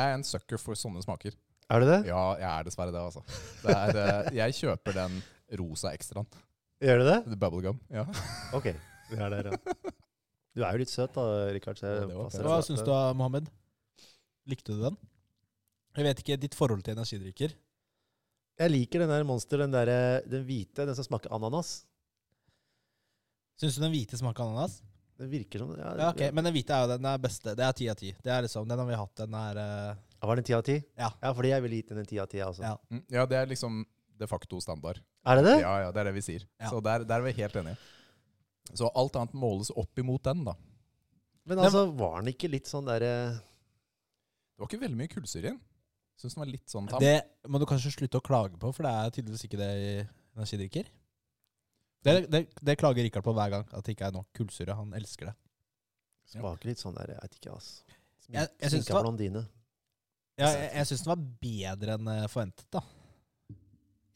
Speaker 2: jeg er en sucker for sånne smaker.
Speaker 3: Er det det?
Speaker 2: Ja, jeg er dessverre det, altså. Det er, eh, jeg kjøper den rosa ekstraen.
Speaker 3: Gjør det det?
Speaker 2: The bubblegum. Ja.
Speaker 3: Ok. Vi er der, ja. Du er jo litt søt da, Rikard. så
Speaker 2: Ja,
Speaker 3: jeg
Speaker 2: det var
Speaker 3: passer
Speaker 2: pent.
Speaker 1: Hva
Speaker 3: at-
Speaker 1: syns du, Mohammed? Likte du den? Jeg vet ikke ditt forhold til energidrikker.
Speaker 3: Jeg liker den der Monster, den, der, eh, den hvite, den som smaker ananas.
Speaker 1: Syns du den hvite smaker ananas?
Speaker 3: Den virker som ja,
Speaker 1: Ja, ok, Men den hvite er jo den er beste. Det er ti av ti. Det er liksom, Den har vi hatt. Den er eh,
Speaker 3: Ja, Var det en ti av ti?
Speaker 1: Ja.
Speaker 3: ja, fordi jeg ville gitt den en ti av ti. Altså.
Speaker 1: Ja.
Speaker 2: Mm, ja, det er liksom de facto standard.
Speaker 3: Er det det?
Speaker 2: Ja, ja, det er det vi sier.
Speaker 1: Ja.
Speaker 2: Så der, der er vi helt enige. Så alt annet måles opp imot den, da.
Speaker 3: Men altså, var den ikke litt sånn derre
Speaker 2: Det var ikke veldig mye kullsyre i den. Syns den var litt sånn tam.
Speaker 1: Det må du kanskje slutte å klage på, for det er tydeligvis ikke det i energidrikker. Det, det, det klager Rikard på hver gang, at det ikke er nok kullsyre. Han elsker det.
Speaker 3: Smaker litt sånn der, jeg vet ikke, altså. Smink,
Speaker 1: Jeg- jeg synes det
Speaker 3: sminka
Speaker 1: var-
Speaker 3: blondine.
Speaker 1: Ja, jeg jeg syns den var bedre enn eh, forventet, da.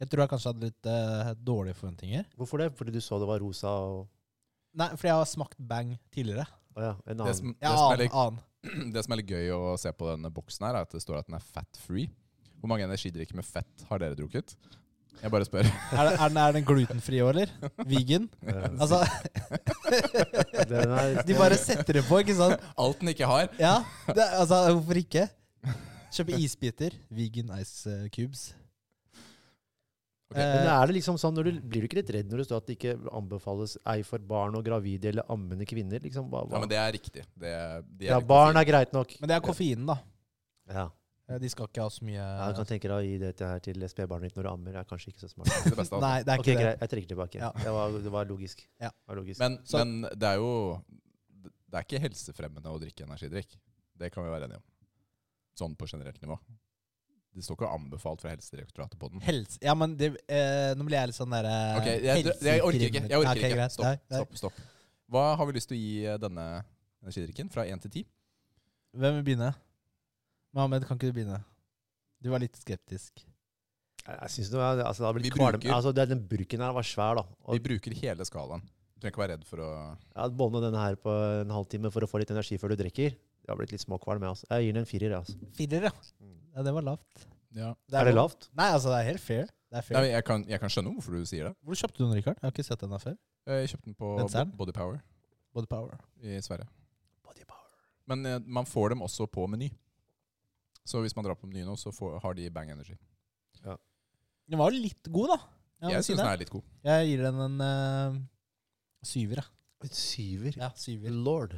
Speaker 1: Jeg tror jeg kanskje hadde litt eh, dårlige forventninger.
Speaker 3: Hvorfor det? Fordi du så det var rosa og
Speaker 1: Nei, fordi jeg har smakt bang tidligere.
Speaker 3: Å ja, en
Speaker 2: Det
Speaker 3: annen.
Speaker 2: som, det,
Speaker 1: Ja,
Speaker 2: som er
Speaker 1: annen.
Speaker 2: litt,
Speaker 1: annen.
Speaker 2: det som er litt gøy å se på denne boksen her, er at det står at den er fat free. Hvor mange energidrikker med fett har dere drukket? Jeg bare spør.
Speaker 1: Er, det- er, den, er den glutenfri òg, eller? Vegan?
Speaker 3: eh,
Speaker 1: Altså,
Speaker 3: den er,
Speaker 1: de bare setter det på, ikke sant?
Speaker 2: Alt den ikke har.
Speaker 1: Ja, det, er- altså, hvorfor ikke? Kjøpe isbiter. Vegan ice eh, cubes.
Speaker 2: Ok,
Speaker 3: Men
Speaker 1: Eh,
Speaker 3: er det liksom sånn, når du, Blir du ikke litt redd når det står at det ikke anbefales ei for barn og gravide eller ammende kvinner? liksom? Hva,
Speaker 2: Ja,
Speaker 3: hva?
Speaker 2: men det er riktig. Det, de
Speaker 3: Ja,
Speaker 2: er
Speaker 3: barn er greit nok.
Speaker 1: men det er koffeinen, da.
Speaker 3: Ja.
Speaker 1: Eh, De skal ikke ha så mye
Speaker 3: Ja, du kan tenke deg å gi det til, her til spedbarnet ditt når du ammer. er kanskje ikke så smart.
Speaker 2: det beste av alt.
Speaker 1: Nei, det er
Speaker 3: Ok,
Speaker 1: ikke det.
Speaker 3: greit, jeg trekker tilbake.
Speaker 1: Ja.
Speaker 3: Det, var, det var logisk.
Speaker 1: Ja.
Speaker 3: Det var logisk.
Speaker 2: Men,
Speaker 1: Så-
Speaker 2: men det er jo Det er ikke helsefremmende å drikke energidrikk. Det kan vi være enige om. Sånn på generelt nivå. Det står ikke anbefalt fra Helsedirektoratet på den.
Speaker 1: Helse Ja, men det, eh, nå blir jeg litt sånn derre
Speaker 2: Ok, jeg, jeg orker ikke. Jeg orker ikke. Stopp,
Speaker 1: Stopp.
Speaker 2: stopp, stopp. Hva har vi lyst til å gi eh, denne energidrikken? Fra 1 til 10?
Speaker 1: Hvem vil begynne? Mohammed, kan ikke du begynne? Du var litt skeptisk.
Speaker 3: Jeg, jeg synes det var, altså, det har blitt
Speaker 2: Vi
Speaker 3: kvalm.
Speaker 2: bruker-
Speaker 3: Altså, det, den bruken her var svær, da.
Speaker 2: Vi
Speaker 3: Og
Speaker 2: bruker hele skalaen. Du trenger ikke være redd for å
Speaker 3: jeg bånde denne her på en halvtime for å få litt energi før du drikker. Det har blitt litt småkvalm. jeg, Altså. Jeg gir den en firer. jeg, Altså.
Speaker 1: Firer, ja. Ja, Det var lavt.
Speaker 3: Er det lavt?
Speaker 1: Nei, altså, det er helt fair. Det er fair.
Speaker 2: Nei, men jeg, kan, jeg kan skjønne hvorfor du sier det.
Speaker 1: Hvor kjøpte du den, Rikard? Jeg har ikke sett den her før.
Speaker 2: Eh, Jeg kjøpte den på
Speaker 1: Den selv?
Speaker 2: Bo- Body Power
Speaker 1: Body Power.
Speaker 2: i Sverige. Men eh, man får dem også på Meny. Så hvis man drar på Meny nå, så får, har de Bang Energy.
Speaker 1: Den var jo litt god, da. må
Speaker 2: jeg
Speaker 1: si
Speaker 2: syns den
Speaker 1: det.
Speaker 2: er litt god.
Speaker 1: Jeg gir den en eh, syver, ja.
Speaker 3: En syver.
Speaker 1: ja. Syver.
Speaker 3: Lord.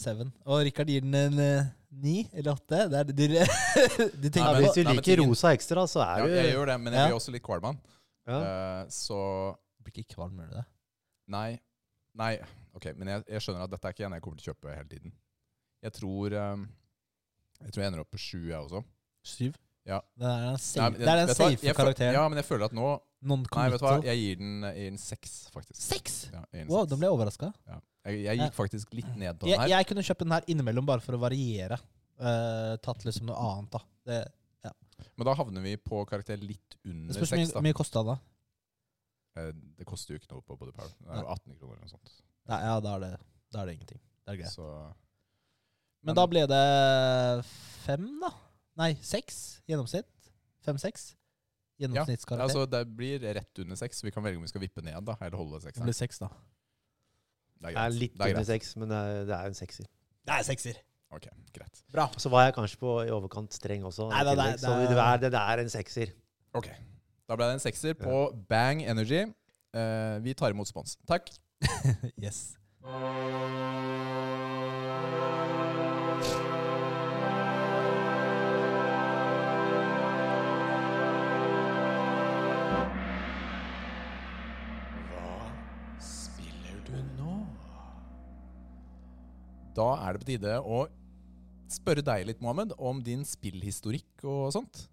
Speaker 1: Seven. Og Rikard gir den en eh, ni eller åtte. Det er det du, du
Speaker 2: Nei,
Speaker 1: tenker
Speaker 2: men-
Speaker 1: på.
Speaker 3: Hvis du
Speaker 2: nei, men
Speaker 3: liker
Speaker 2: tingen-
Speaker 3: rosa ekstra, så er
Speaker 2: Ja,
Speaker 3: du
Speaker 2: jeg gjør det, men jeg
Speaker 1: Ja.
Speaker 2: blir også litt kvalm av den.
Speaker 3: ja.
Speaker 2: Eh, så
Speaker 1: Du blir ikke kvalm, gjør du det?
Speaker 2: nei. Nei, ok, men jeg, jeg skjønner at dette er ikke en jeg kommer til å kjøpe hele tiden. Jeg tror eh, Jeg tror jeg ender opp på sju, jeg også.
Speaker 1: Syv?
Speaker 2: Ja.
Speaker 1: Det er den, safe,
Speaker 2: Nei, men-
Speaker 1: det er den
Speaker 2: vet du hva?
Speaker 1: safe
Speaker 2: Jeg føl-
Speaker 1: karakteren.
Speaker 2: Ja, men jeg føler at nå Nei, vet du hva,
Speaker 1: Non-committal.
Speaker 2: jeg gir den, jeg gir den seks, faktisk.
Speaker 1: Seks?
Speaker 2: Ja, jeg, gir den
Speaker 1: Wow,
Speaker 2: seks.
Speaker 1: da ble jeg overraska.
Speaker 2: jeg, jeg gikk faktisk litt ned på den
Speaker 1: Jeg,
Speaker 2: her.
Speaker 1: jeg kunne kjøpt den her innimellom bare for å variere. Eh, tatt liksom noe annet, da. Det,
Speaker 2: Men da havner vi på karakter litt
Speaker 1: det
Speaker 2: under
Speaker 1: spørs hvor
Speaker 2: seks,
Speaker 1: mye,
Speaker 2: da.
Speaker 1: mye kosta den, da.
Speaker 2: Eh, Det koster jo ikke noe på Body Power. Det er jo 18 kroner eller noe sånt.
Speaker 1: Nei, ja, da er det, da er det ingenting. Det er greit.
Speaker 2: Så
Speaker 1: Men da ble det fem, da? Nei, seks gjennomsnitt. Fem-seks gjennomsnittskarakter.
Speaker 2: altså, det blir rett under seks. Vi kan velge om vi skal vippe ned da, eller holde
Speaker 1: det
Speaker 2: sekseren.
Speaker 1: blir seks, da.
Speaker 2: Det er
Speaker 3: Jeg er
Speaker 2: greit.
Speaker 3: litt
Speaker 2: Det er
Speaker 3: under
Speaker 2: greit.
Speaker 3: seks, men det er, det er en sekser.
Speaker 1: Det er sekser.
Speaker 2: Ok, greit.
Speaker 1: Bra.
Speaker 3: Og så var jeg kanskje på i overkant streng også.
Speaker 1: Nei, det er-
Speaker 3: i tillegg,
Speaker 1: det
Speaker 3: så
Speaker 1: er-
Speaker 3: det er, det er en sekser.
Speaker 2: Ok. Da ble det en sekser på Bang Energy. Eh, vi tar imot spons. Takk.
Speaker 1: Yes.
Speaker 2: spiller du nå? Da er det på tide å spørre deg litt, Mohammed, om din spillhistorikk og sånt.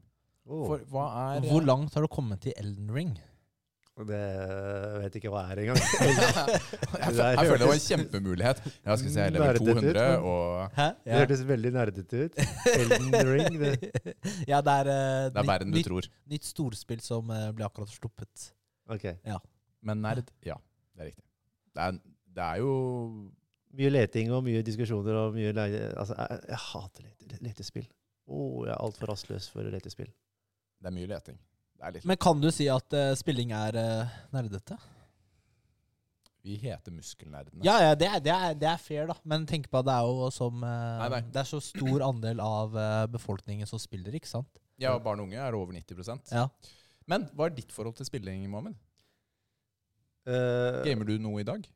Speaker 3: Oh.
Speaker 2: For hva er
Speaker 1: Hvor langt har du kommet i Elden Ring?
Speaker 3: Det jeg vet ikke hva jeg er engang.
Speaker 2: jeg, føl- jeg føler det var en kjempemulighet. Ja, skal vi se, jeg lever
Speaker 3: Nerdet ut,
Speaker 2: 200
Speaker 3: men-
Speaker 2: og
Speaker 1: Hæ?
Speaker 3: Det hørtes veldig nerdete ut. Elden Ring. Det,
Speaker 1: ja, det er, eh,
Speaker 2: Det er verre enn du
Speaker 1: nytt,
Speaker 2: tror.
Speaker 1: nytt, nytt storspill som eh, ble akkurat sluppet.
Speaker 3: ok.
Speaker 2: Men nerd, ja. Det er riktig. Det er, det er jo
Speaker 3: Mye leting og mye diskusjoner og mye leie... Altså, jeg, jeg hater lete, letespill. Å, jeg er altfor rastløs for letespill.
Speaker 2: Det er mye leting. Det er litt
Speaker 1: Men kan du si at eh, spilling er eh, nerdete?
Speaker 2: Vi heter muskelnerdene.
Speaker 1: Ja, ja det, er, det, er, det er fair, da. Men tenk på at det er jo som eh,
Speaker 2: Nei, nei.
Speaker 1: Det er så stor andel av eh, befolkningen som spiller, ikke sant?
Speaker 2: Ja, og barn og unge er over 90
Speaker 1: Ja.
Speaker 2: Men hva er ditt forhold til spilling, Mohammed?
Speaker 3: Eh,
Speaker 2: Gamer du noe i dag?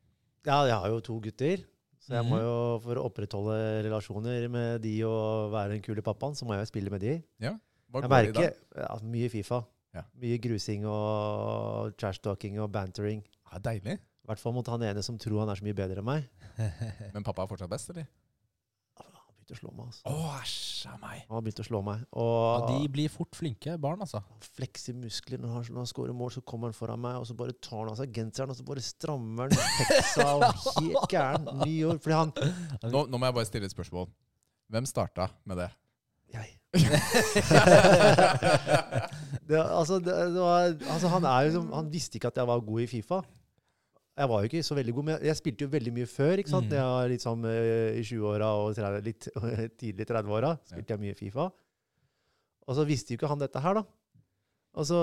Speaker 3: ja, jeg har jo to gutter, så jeg må
Speaker 1: Mhm.
Speaker 3: jo, for å opprettholde relasjoner med de og være den kule pappaen, så må jeg jo spille med de.
Speaker 2: Hva
Speaker 3: Jeg
Speaker 2: går det i
Speaker 3: merker
Speaker 2: dag?
Speaker 3: ja, mye Fifa.
Speaker 2: Ja.
Speaker 3: Mye grusing og trash-talking og bantering.
Speaker 2: Ja, deilig.
Speaker 3: I hvert fall mot han ene som tror han er så mye bedre enn meg.
Speaker 2: Men pappa er fortsatt best, eller?
Speaker 3: Han begynte å slå meg, altså.
Speaker 2: Å, æsj av meg.
Speaker 3: Han har begynt å slå meg.
Speaker 1: ja,
Speaker 3: Og
Speaker 1: de blir fort flinke barn, altså.
Speaker 3: han flekser muskler når han, når han scorer mål, så kommer han foran meg, og så bare tar han av seg genseren, og så bare strammer han heksa og helt gæren. New York. Fordi han
Speaker 2: Nå, nå må jeg bare stille et spørsmål. Hvem starta med det?
Speaker 3: Jeg. det, altså, det, det var, altså, han er jo som Han visste ikke at jeg var god i Fifa. Jeg var jo ikke så veldig god, men jeg- jeg spilte jo veldig mye før. ikke sant?
Speaker 1: Mm.
Speaker 3: Jeg var liksom eh, I 20-åra og 30, litt, tidlig 30-åra spilte jeg mye Fifa. Og så visste jo ikke han dette her, da. Og så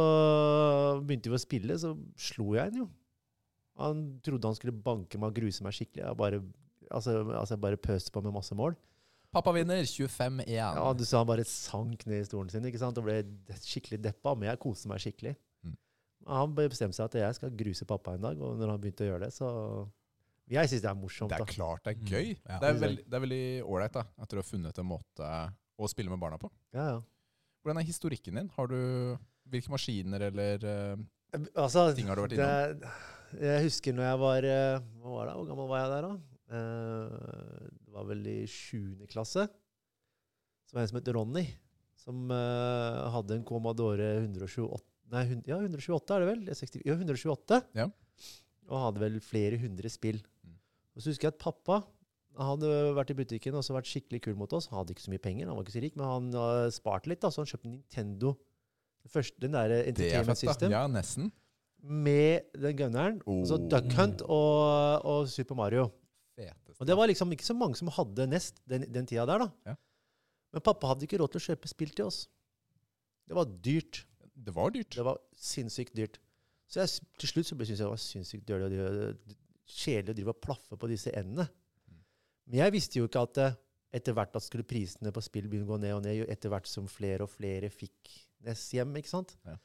Speaker 3: begynte vi å spille, så slo jeg han jo. Han trodde han skulle banke meg og gruse meg skikkelig. Jeg bare, altså, altså jeg bare pøste på med masse mål.
Speaker 2: Pappa vinner 25-1.
Speaker 3: Ja, du sa han bare sank ned i stolen sin ikke sant? og ble de- skikkelig deppa, men jeg koste meg skikkelig.
Speaker 2: Mm.
Speaker 3: Han bare bestemte seg at jeg skal gruse pappa en dag, og når han begynte å gjøre det, så Jeg syns det er morsomt.
Speaker 2: det
Speaker 3: da.
Speaker 2: er klart det er gøy.
Speaker 1: Mm, ja.
Speaker 2: Det er veldig, det er veldig ålreit da, at dere har funnet en måte å spille med barna på.
Speaker 3: Ja, ja.
Speaker 2: Hvordan er historikken din? Har du Hvilke maskiner eller eh,
Speaker 3: Altså,
Speaker 2: ting har du vært
Speaker 3: det, er- jeg husker når jeg var eh, Hva var det? Hvor gammel var jeg der, da? Eh, Det var vel i sjuende klasse. Så var det en som het Ronny, som eh, hadde en Commodore 128 Nei, hun- ja, 128 er det vel? Det er 60, ja, 128.
Speaker 2: Ja.
Speaker 3: Og hadde vel flere hundre spill.
Speaker 2: Mm.
Speaker 3: Og så husker jeg at pappa han hadde vært i butikken og så vært skikkelig kul mot oss. Han hadde ikke så mye penger, han var ikke så rik, men han hadde spart litt, da, så han kjøpte Nintendo. Den første, den der
Speaker 2: Det er
Speaker 3: Entertainment
Speaker 2: fett, da.
Speaker 3: System
Speaker 2: Ja, nesten.
Speaker 3: med den gunneren. Og så
Speaker 2: Oh.
Speaker 3: Duck Hunt og, og Super Mario.
Speaker 2: Feteste.
Speaker 3: Og det var liksom ikke så mange som hadde Nest den, den tida der, da.
Speaker 2: Ja.
Speaker 3: Men pappa hadde ikke råd til å kjøpe spill til oss. Det var dyrt.
Speaker 2: Det var dyrt.
Speaker 3: Det var sinnssykt dyrt. Så jeg, s- til slutt så ble- syntes jeg det var sinnssykt dårlig og drive- kjedelig å drive og plaffe på disse endene.
Speaker 2: Mm.
Speaker 3: Men jeg visste jo ikke at eh, etter hvert at skulle prisene på spill begynne å gå ned og ned, jo etter hvert som flere og flere fikk Ness hjem, ikke sant?
Speaker 2: Ja.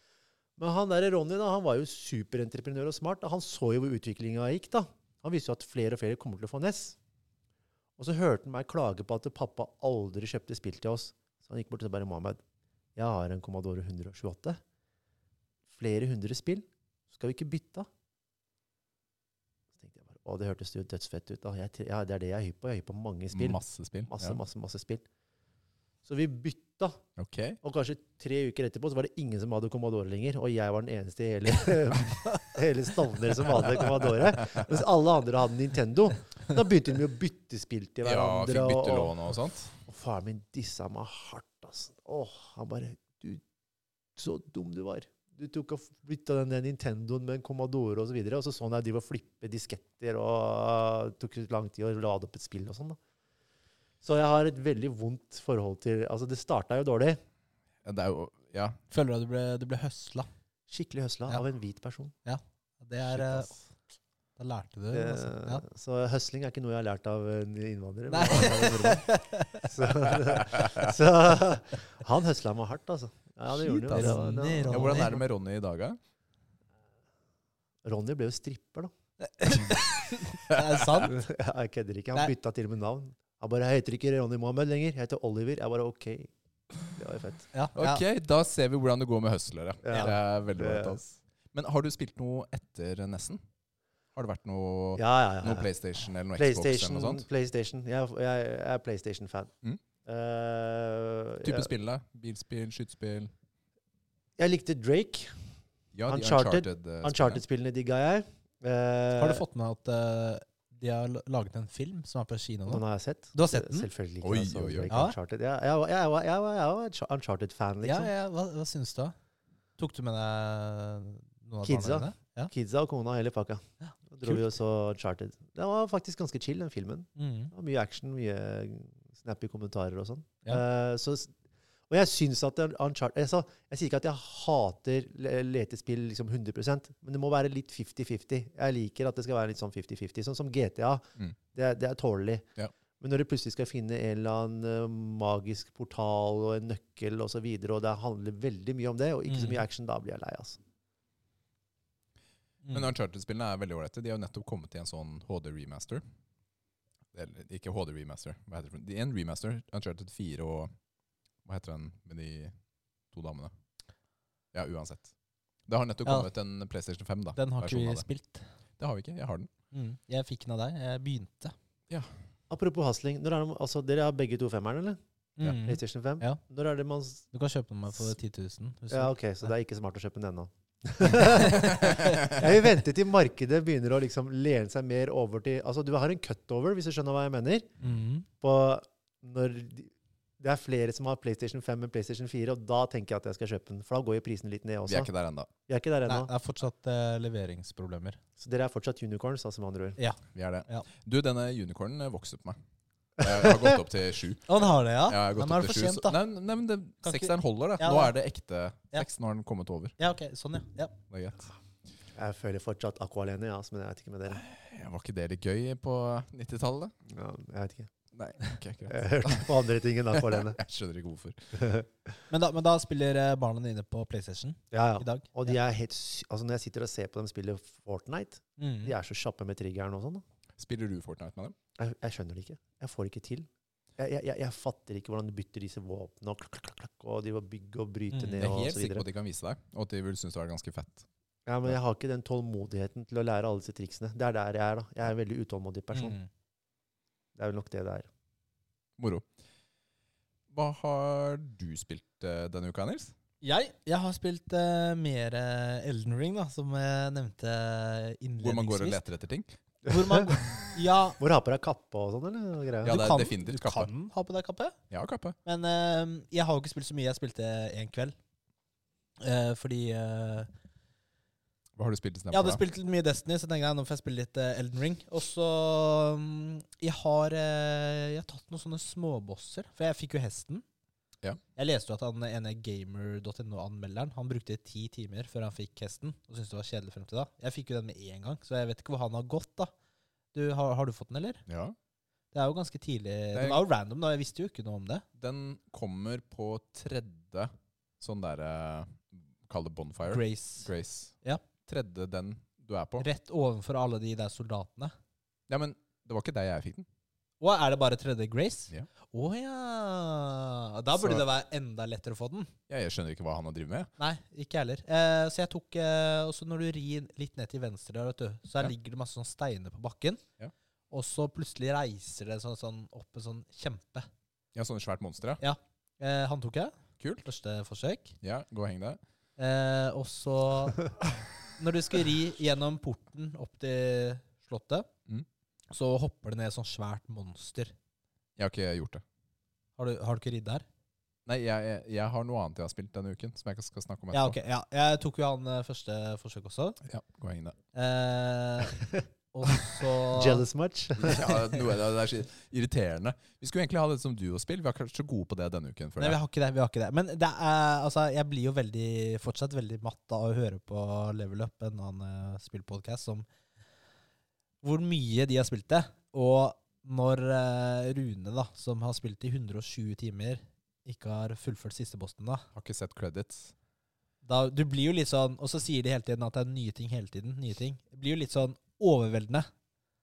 Speaker 3: Men han der Ronny da, han var jo superentreprenør og smart. da. Han så jo hvor utviklinga gikk. da. Han visste jo at flere og flere kommer til å få Ness. Og så hørte han meg klage på at pappa aldri kjøpte spill til oss. Så han gikk bort og bare 'Mohammed, jeg har en Commodore 128 flere hundre spill, så skal vi ikke bytte av. Så tenkte jeg bare, å, det hørtes jo dødsfett ut. Da. Jeg, tre- ja, det er det jeg er hypp på. Jeg er hypp på mange spill.
Speaker 2: Masse spill.
Speaker 3: Masse,
Speaker 2: ja.
Speaker 3: masse, masse spill. Så vi bytta,
Speaker 2: Ok.
Speaker 3: og kanskje tre uker etterpå så var det ingen som hadde Commodore lenger, og jeg var den eneste i hele, hele Stovner som hadde Commodore. Mens alle andre hadde Nintendo. Da begynte de å bytte spill til
Speaker 2: Ja,
Speaker 3: hverandre.
Speaker 2: fikk
Speaker 3: og- og,
Speaker 2: byttelån og sånt.
Speaker 3: og faren min dissa meg hardt, altså. Åh, han bare Du, så dum du var. du tok og flytta den der Nintendoen med en Commodore osv. Og, så videre, og så sånn jeg driver og flipper disketter, og det tok lang tid å lade opp et spill og sånn. da. Så jeg har et veldig vondt forhold til Altså, det starta jo dårlig.
Speaker 2: Ja, Det er jo Ja.
Speaker 1: Føler du at du ble, du ble høsla?
Speaker 3: Skikkelig høsla
Speaker 1: Ja.
Speaker 3: av en hvit person.
Speaker 1: Det er,
Speaker 2: Shit,
Speaker 1: eh,
Speaker 2: ass.
Speaker 1: da lærte du
Speaker 3: Eh,
Speaker 1: altså. ja.
Speaker 3: Så høsling er ikke noe jeg har lært av eh, innvandrere.
Speaker 1: Nei.
Speaker 3: men av en nordmann. så, så han høsla meg hardt, altså. Ja, det
Speaker 2: Shit,
Speaker 3: gjorde
Speaker 1: ass.
Speaker 3: han jo. Det var-
Speaker 2: ja,
Speaker 3: det
Speaker 2: hvordan er det med Ronny i dag, da?
Speaker 3: var- Ronny ble jo stripper, da.
Speaker 1: Det er sant.
Speaker 3: Jeg kødder ikke. Han
Speaker 1: Nei.
Speaker 3: bytta til og med navn. Han bare 'Jeg heter ikke Ronny Mohammed lenger. Jeg heter Oliver.' Jeg bare OK. Det var jo fett.
Speaker 1: Ja, ja.
Speaker 2: Ok, da ser vi hvordan det går med høstlere.
Speaker 3: Ja.
Speaker 2: Det er veldig
Speaker 3: Det-
Speaker 2: bra. ass. Men har du spilt noe etter Nessen? Har det vært noe,
Speaker 3: Ja, ja, ja.
Speaker 2: noe PlayStation eller noe Xbox eller
Speaker 3: PlayStation.
Speaker 2: noe sånt?
Speaker 3: PlayStation. Jeg, er- jeg er PlayStation-fan.
Speaker 2: Mm.
Speaker 3: Eh,
Speaker 2: Type
Speaker 3: jeg,
Speaker 2: spill, da? Bilspill, skytespill?
Speaker 3: jeg likte Drake.
Speaker 2: Ja, de eh,
Speaker 3: Uncharted.
Speaker 2: Uncharted-spillene.
Speaker 3: Uncharted-spillene digga jeg. Eh,
Speaker 1: Har du fått med at eh, de har la- laget en film som er på kino nå?
Speaker 3: Den har jeg sett.
Speaker 1: Du har sett den?
Speaker 3: Selvfølgelig.
Speaker 2: Oi,
Speaker 3: Ikke, altså,
Speaker 2: oi, oi.
Speaker 3: Drake
Speaker 1: Ja.
Speaker 3: Uncharted. Ja, jeg, var- jeg, var- jeg, var- jeg var en Uncharted-fan,
Speaker 1: Ja,
Speaker 3: liksom.
Speaker 1: ja, hva, hva syns du? da? Tok du med deg noen av
Speaker 3: Kidsa?
Speaker 1: barna dine? Ja.
Speaker 3: Kidsa og kona, hele pakka.
Speaker 1: Ja,
Speaker 3: Da dro vi
Speaker 1: kult.
Speaker 3: og så Uncharted. Den var faktisk ganske chill, den filmen.
Speaker 1: Mm.
Speaker 3: Det var mye action, mye snappy kommentarer og sånn.
Speaker 1: Ja.
Speaker 3: Eh, så, s- og jeg syns at det er Uncharted jeg, sa, jeg sier ikke at jeg hater le- letespill liksom 100 men det må være litt 50-50. Jeg liker at det skal være litt sånn 50-50. Sånn som GTA.
Speaker 2: Mm.
Speaker 3: Det, er- det er tålelig.
Speaker 2: Ja.
Speaker 3: Men når du plutselig skal finne en eller annen eh, magisk portal og en nøkkel osv., og, så videre, og det handler veldig mye om det, og ikke så
Speaker 1: Mm.
Speaker 3: mye action, da blir jeg lei. altså.
Speaker 1: Mm.
Speaker 2: Men Uncharted-spillene er veldig ålreite. De har jo nettopp kommet i en sånn HD-remaster. Eller ikke HD-remaster, hva heter det? for noe? Det er en remaster. Uncharted 4 og Hva heter den med de to damene? Ja, uansett. Det har nettopp
Speaker 1: Ja.
Speaker 2: kommet en PlayStation 5, da.
Speaker 1: Den har ikke
Speaker 2: versjon
Speaker 1: vi
Speaker 2: sånn av det.
Speaker 1: spilt.
Speaker 2: Det har vi ikke. Jeg har den.
Speaker 1: Mm. Jeg fikk den av deg. Jeg begynte.
Speaker 3: Apropos hasling. Når er det, altså, dere har begge to femmeren, eller?
Speaker 2: Ja.
Speaker 1: Mm.
Speaker 3: PlayStation 5?
Speaker 1: Ja.
Speaker 3: Når er det man s-
Speaker 1: Du kan kjøpe den meg for 10 000. hvis du-
Speaker 3: Ja, ok, så det er ikke smart å kjøpe den ennå.
Speaker 2: Jeg
Speaker 3: Jeg vil vente til markedet begynner å liksom lene seg mer over til Altså, du har en cutover, hvis du skjønner hva jeg mener,
Speaker 1: Mm.
Speaker 3: på når de- det er flere som har PlayStation 5 enn PlayStation 4, og da tenker jeg at jeg skal kjøpe den. For da går jo prisen litt ned
Speaker 2: Vi er
Speaker 3: også.
Speaker 2: ikke der ennå.
Speaker 3: Vi er ikke der
Speaker 1: Nei,
Speaker 3: ennå.
Speaker 1: det er fortsatt eh, leveringsproblemer.
Speaker 3: Så dere er fortsatt unicorns, altså, med andre ord.
Speaker 2: Vi er det.
Speaker 1: Ja.
Speaker 2: Du, denne unicornen eh, vokser på meg. Jeg har gått opp til sju.
Speaker 1: Å, Ah, den har det, ja?
Speaker 2: Jeg har gått
Speaker 1: men er
Speaker 2: opp
Speaker 1: det
Speaker 2: til
Speaker 1: for
Speaker 2: sju.
Speaker 1: sent,
Speaker 2: så-
Speaker 1: da?
Speaker 2: Nei, nei, men det-
Speaker 1: Kan ikke-
Speaker 2: sekseren holder, da.
Speaker 1: Ja,
Speaker 2: Nå
Speaker 1: da.
Speaker 2: er det ekte.
Speaker 1: Ja.
Speaker 2: Seksen har den kommet over.
Speaker 1: Ja, ok. Sånn, ja. ja.
Speaker 2: Det er greit.
Speaker 3: Jeg føler fortsatt Aqua alene, ja, altså, men jeg vet ikke med dere.
Speaker 2: Ja, Eh, Var ikke det litt gøy på 90-tallet?
Speaker 3: Ja, jeg vet ikke.
Speaker 2: Nei.
Speaker 3: Jeg hørte på andre ting enn Aqua alene.
Speaker 2: Jeg skjønner ikke hvorfor.
Speaker 1: Men, da, men da spiller eh, barna dine på PlayStation i
Speaker 3: Ja, ja.
Speaker 1: dag?
Speaker 3: Og de er helt sy altså, når jeg sitter og ser på dem spille Fortnite,
Speaker 1: Mm.
Speaker 3: de er så kjappe med triggeren og sånn. da.
Speaker 2: Spiller du Fortnite med dem?
Speaker 3: Jeg, jeg skjønner det ikke. Jeg får det ikke til. Jeg, jeg, jeg, jeg fatter ikke hvordan de bytter disse våpnene og klakk, klakk, klakk, og de var bygge og bryte
Speaker 1: Mm.
Speaker 3: ned
Speaker 2: Jeg er
Speaker 3: og
Speaker 2: helt
Speaker 3: så
Speaker 2: sikker på
Speaker 3: videre.
Speaker 2: at de kan vise deg, og at de vil synes det er ganske fett.
Speaker 3: Ja, men jeg har ikke den tålmodigheten til å lære alle disse triksene. Det er der jeg er, da. Jeg er en veldig utålmodig person.
Speaker 1: Mm.
Speaker 3: Det er vel nok det det er.
Speaker 2: Moro. Hva har du spilt eh, denne uka, Nils?
Speaker 1: Jeg, jeg har spilt eh, mer eh, Elden Ring, da, som jeg nevnte eh, innledningsvis.
Speaker 2: Hvor man går og leter etter ting?
Speaker 1: Hvor man, ja,
Speaker 3: Hvor har på deg kappe og sånn, eller? noe greier?
Speaker 2: Ja,
Speaker 1: du
Speaker 2: det er
Speaker 1: kan,
Speaker 2: definitivt
Speaker 1: du
Speaker 2: kappe.
Speaker 1: kan ha på deg kappe.
Speaker 2: Jeg har kappe.
Speaker 1: Men eh, jeg har jo ikke spilt så mye. Jeg spilte én kveld. Eh, fordi eh,
Speaker 2: Hva har du spilt istedenfor?
Speaker 1: Jeg hadde spilt litt mye Destiny, så tenkte jeg nå får jeg spille litt eh, Elden Ring. Og så mm, Jeg har eh, Jeg har tatt noen sånne småbosser, for jeg fikk jo hesten.
Speaker 2: Ja.
Speaker 1: Jeg leste jo at han ene gamer.no-anmelderen Han brukte ti timer før han fikk hesten, og syntes det var kjedelig frem til da. Jeg fikk jo den med en gang, så jeg vet ikke hvor han har gått, da. Du, har, har du fått den, eller?
Speaker 2: Ja.
Speaker 1: Det er jo ganske tidlig.
Speaker 2: Nei.
Speaker 1: Den var jo random, da. Jeg visste jo ikke noe om det.
Speaker 2: Den kommer på tredje sånn derre Kall det bonfire.
Speaker 1: Grace.
Speaker 2: Grace.
Speaker 1: Ja.
Speaker 2: Tredje den du er på.
Speaker 1: Rett ovenfor alle de der soldatene.
Speaker 2: Ja, men det var ikke der jeg fikk den.
Speaker 1: Og er det bare tredje Grace?
Speaker 2: Ja.
Speaker 1: Å ja. Da burde
Speaker 2: Så-
Speaker 1: det være enda lettere å få den.
Speaker 2: Ja, jeg skjønner ikke hva han har drevet med.
Speaker 1: Nei, ikke jeg heller. Eh, så jeg tok eh, Og så når du rir litt ned til venstre, der, vet du, så her
Speaker 2: Ja.
Speaker 1: ligger det masse sånne steiner på bakken.
Speaker 2: Ja.
Speaker 1: Og så plutselig reiser det sånn, sånn opp en sånn kjempe.
Speaker 2: Ja, sånn svært monster, ja.
Speaker 1: Eh, han tok jeg.
Speaker 2: Kult.
Speaker 1: Første forsøk.
Speaker 2: Ja, gå og heng deg.
Speaker 1: Eh, og så Når du skal ri gjennom porten opp til slottet,
Speaker 2: Mm.
Speaker 1: så hopper det ned et sånt svært monster.
Speaker 2: Jeg har ikke gjort det.
Speaker 1: Har du, har du ikke ridd der?
Speaker 2: Nei, jeg, jeg, jeg har noe annet jeg har spilt denne uken, som jeg skal snakke om
Speaker 1: Ja, ok. Ja. Jeg tok jo han eh, første forsøk også.
Speaker 2: Ja, gå inn der.
Speaker 1: Eh, og så
Speaker 3: Jealous much?
Speaker 2: ja, noe, det er så irriterende. Vi skulle egentlig ha det som duospill. Vi har ikke vært så gode på det denne uken.
Speaker 1: Nei,
Speaker 2: Føler
Speaker 1: vi
Speaker 2: jeg.
Speaker 1: har ikke det. vi har ikke det. Men det er, altså, jeg blir jo veldig, fortsatt veldig matt av å høre på Level Up, en annen uh, spillpodkast, som hvor mye de har spilt det. Og når eh, Rune, da, som har spilt i 120 timer, ikke har fullført siste bossen, da,
Speaker 2: Har ikke sett credits.
Speaker 1: da Du blir jo litt sånn Og så sier de hele tiden at det er nye ting hele tiden. nye ting. Det blir jo litt sånn overveldende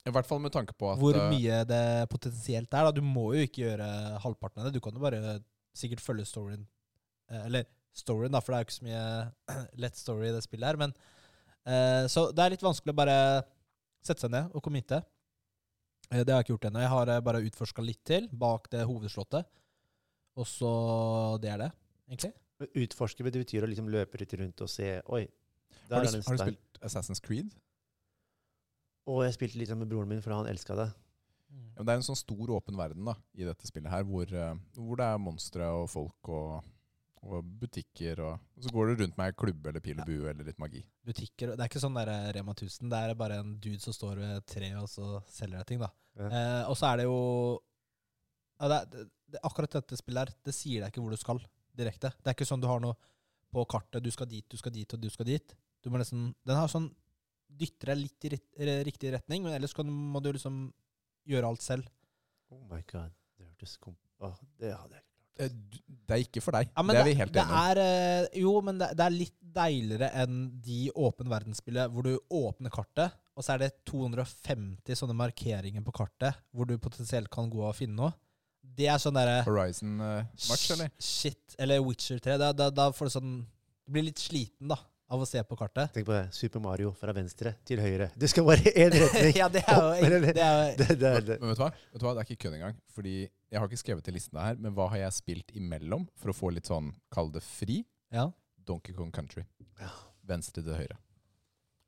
Speaker 2: I hvert fall med tanke på at
Speaker 1: hvor
Speaker 2: eh,
Speaker 1: mye det potensielt er. Da. Du må jo ikke gjøre halvparten av det. Du kan jo bare sikkert følge storyen. Eh, Eller storyen, da, for det er jo ikke så mye lett story i det spillet her. Men, eh, så det er litt vanskelig å bare sette seg ned og committe. Eh, det har jeg ikke gjort ennå. Jeg har eh, bare utforska litt til bak det hovedslottet. Og så det er det, egentlig.
Speaker 3: Utforske det betyr å liksom løpe litt rundt og se Oi, der
Speaker 2: har,
Speaker 3: er det
Speaker 2: du,
Speaker 3: en
Speaker 2: har du
Speaker 3: stein.
Speaker 2: spilt Assassin's Creed?
Speaker 3: Og jeg spilte litt med broren min, for han elska det.
Speaker 2: Ja, men det er en sånn stor åpen verden da, i dette spillet her, hvor, eh, hvor det er monstre og folk og, og butikker. Og, og så går du rundt med ei klubbe eller pil og bue eller litt magi.
Speaker 1: butikker. og- Det er ikke sånn der eh, Rema 1000. Det er bare en dude som står ved et tre og så selger deg ting. da.
Speaker 3: Ja.
Speaker 1: Eh, og så er det jo ja, det, er- det, det, Akkurat dette spillet her, det sier deg ikke hvor du skal direkte. Det er ikke sånn du har noe på kartet. Du skal dit, du skal dit, og du skal dit. Du må nesten, Den har sånn dytter deg litt i ritt- re- riktig retning, men ellers kan, må du liksom gjøre alt selv.
Speaker 3: Oh my god, det hørtes kom... Åh, det hadde jeg
Speaker 2: Eh, du- Det er ikke for deg.
Speaker 1: Ja, men
Speaker 2: det er vi helt
Speaker 1: det
Speaker 2: enige om.
Speaker 1: er, eh, jo, men det, det er litt deiligere enn de åpen verdensspillet hvor du åpner kartet, og så er det 250 sånne markeringer på kartet hvor du potensielt kan gå og finne noe. Det er sånn derre
Speaker 2: Horizon-match,
Speaker 1: sh-
Speaker 2: eh, eller?
Speaker 1: Shit. Eller Witcher 3. Da, da, da får du sånn Du blir litt sliten, da, av å se på kartet.
Speaker 3: Tenk på det. Super Mario fra venstre til høyre. Du skal bare i én retning!
Speaker 1: ja, det er jo
Speaker 3: Opp, eller-
Speaker 1: det er jo,
Speaker 3: det, det, er det.
Speaker 2: Men vet du hva? Vet du hva? Det er ikke kødd engang. Fordi jeg har ikke skrevet til listene her, men hva har jeg spilt imellom for å få litt sånn, kall det fri?
Speaker 1: ja.
Speaker 2: Donkey Kong Country.
Speaker 3: Ja.
Speaker 2: Venstre til høyre.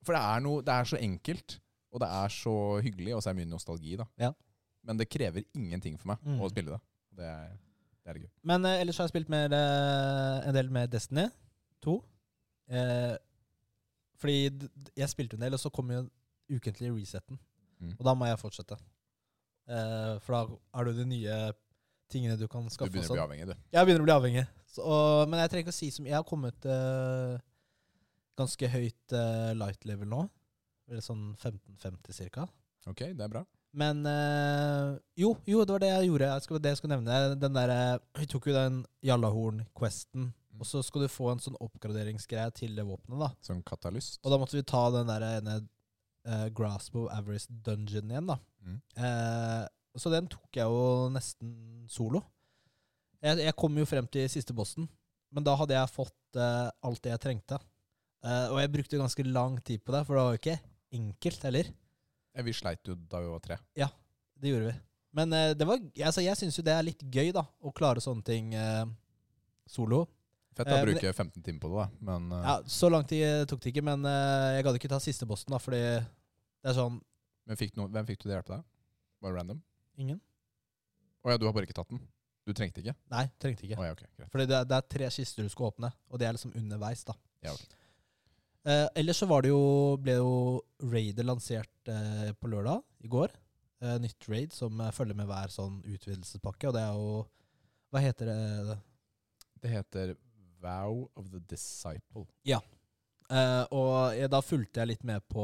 Speaker 2: For det er, noe, det er så enkelt, og det er så hyggelig, og så er det mye nostalgi, da.
Speaker 1: Ja.
Speaker 2: Men det krever ingenting for meg
Speaker 1: Mm.
Speaker 2: å spille det. Det er, det er gøy.
Speaker 1: Men eh, ellers har jeg spilt mer, eh, en del med Destiny 2. Eh, fordi d- d- jeg spilte en del, og så kom jo ukentlig resetten.
Speaker 2: Mm.
Speaker 1: Og da må jeg fortsette. Eh, for da er det jo de nye tingene du kan
Speaker 2: Du
Speaker 1: skaffe. og
Speaker 2: begynner å
Speaker 1: sånn.
Speaker 2: bli avhengig, du.
Speaker 1: Jeg begynner å bli avhengig. Så, og, men jeg trenger ikke å si som Jeg har kommet eh, ganske høyt eh, light level nå. Eller sånn 15-50 cirka.
Speaker 2: Ok, det er bra.
Speaker 1: Men eh, jo, jo, det var det jeg gjorde. Jeg skal, det jeg skal nevne den der, eh, Vi tok jo den Jallahorn-questen. Og så skal du få en sånn oppgraderingsgreie til det våpenet. da.
Speaker 2: Sånn katalyst.
Speaker 1: Og da måtte vi ta den der ene eh, Grasp of Avarice Dungeon igjen, da.
Speaker 2: Mm.
Speaker 1: Eh, så den tok jeg jo nesten solo. Jeg, jeg kom jo frem til siste bossen, men da hadde jeg fått eh, alt det jeg trengte. Eh, og jeg brukte ganske lang tid på det, for det var jo ikke enkelt heller.
Speaker 2: Ja, Vi sleit jo da vi var tre.
Speaker 1: Det gjorde vi. Men eh, det var, altså, jeg syns jo det er litt gøy, da. Å klare sånne ting eh, solo.
Speaker 2: Fett å
Speaker 1: Eh, men-
Speaker 2: bruke 15 timer på det, da. Men eh,
Speaker 1: Ja, Så lang tid tok det ikke, men eh, jeg gadd ikke ta siste bossen, da, fordi det er sånn
Speaker 2: men fikk noen- hvem fikk du til å hjelpe deg? Var det random?
Speaker 1: Ingen?
Speaker 2: Å ja, du har bare ikke tatt den? Du trengte ikke?
Speaker 1: Nei, trengte ikke.
Speaker 2: Å ja, ok, greit.
Speaker 1: Fordi det er, det er tre kister du skal åpne, og det er liksom underveis, da.
Speaker 2: Ja, ok.
Speaker 1: Eh, ellers så var det jo, ble jo raidet lansert eh, på lørdag i går. Eh, nytt raid som eh, følger med hver sånn utvidelsespakke, og det er jo Hva heter det?
Speaker 2: Det heter Vow of the Disciple.
Speaker 1: Eh, og jeg, da fulgte jeg litt med på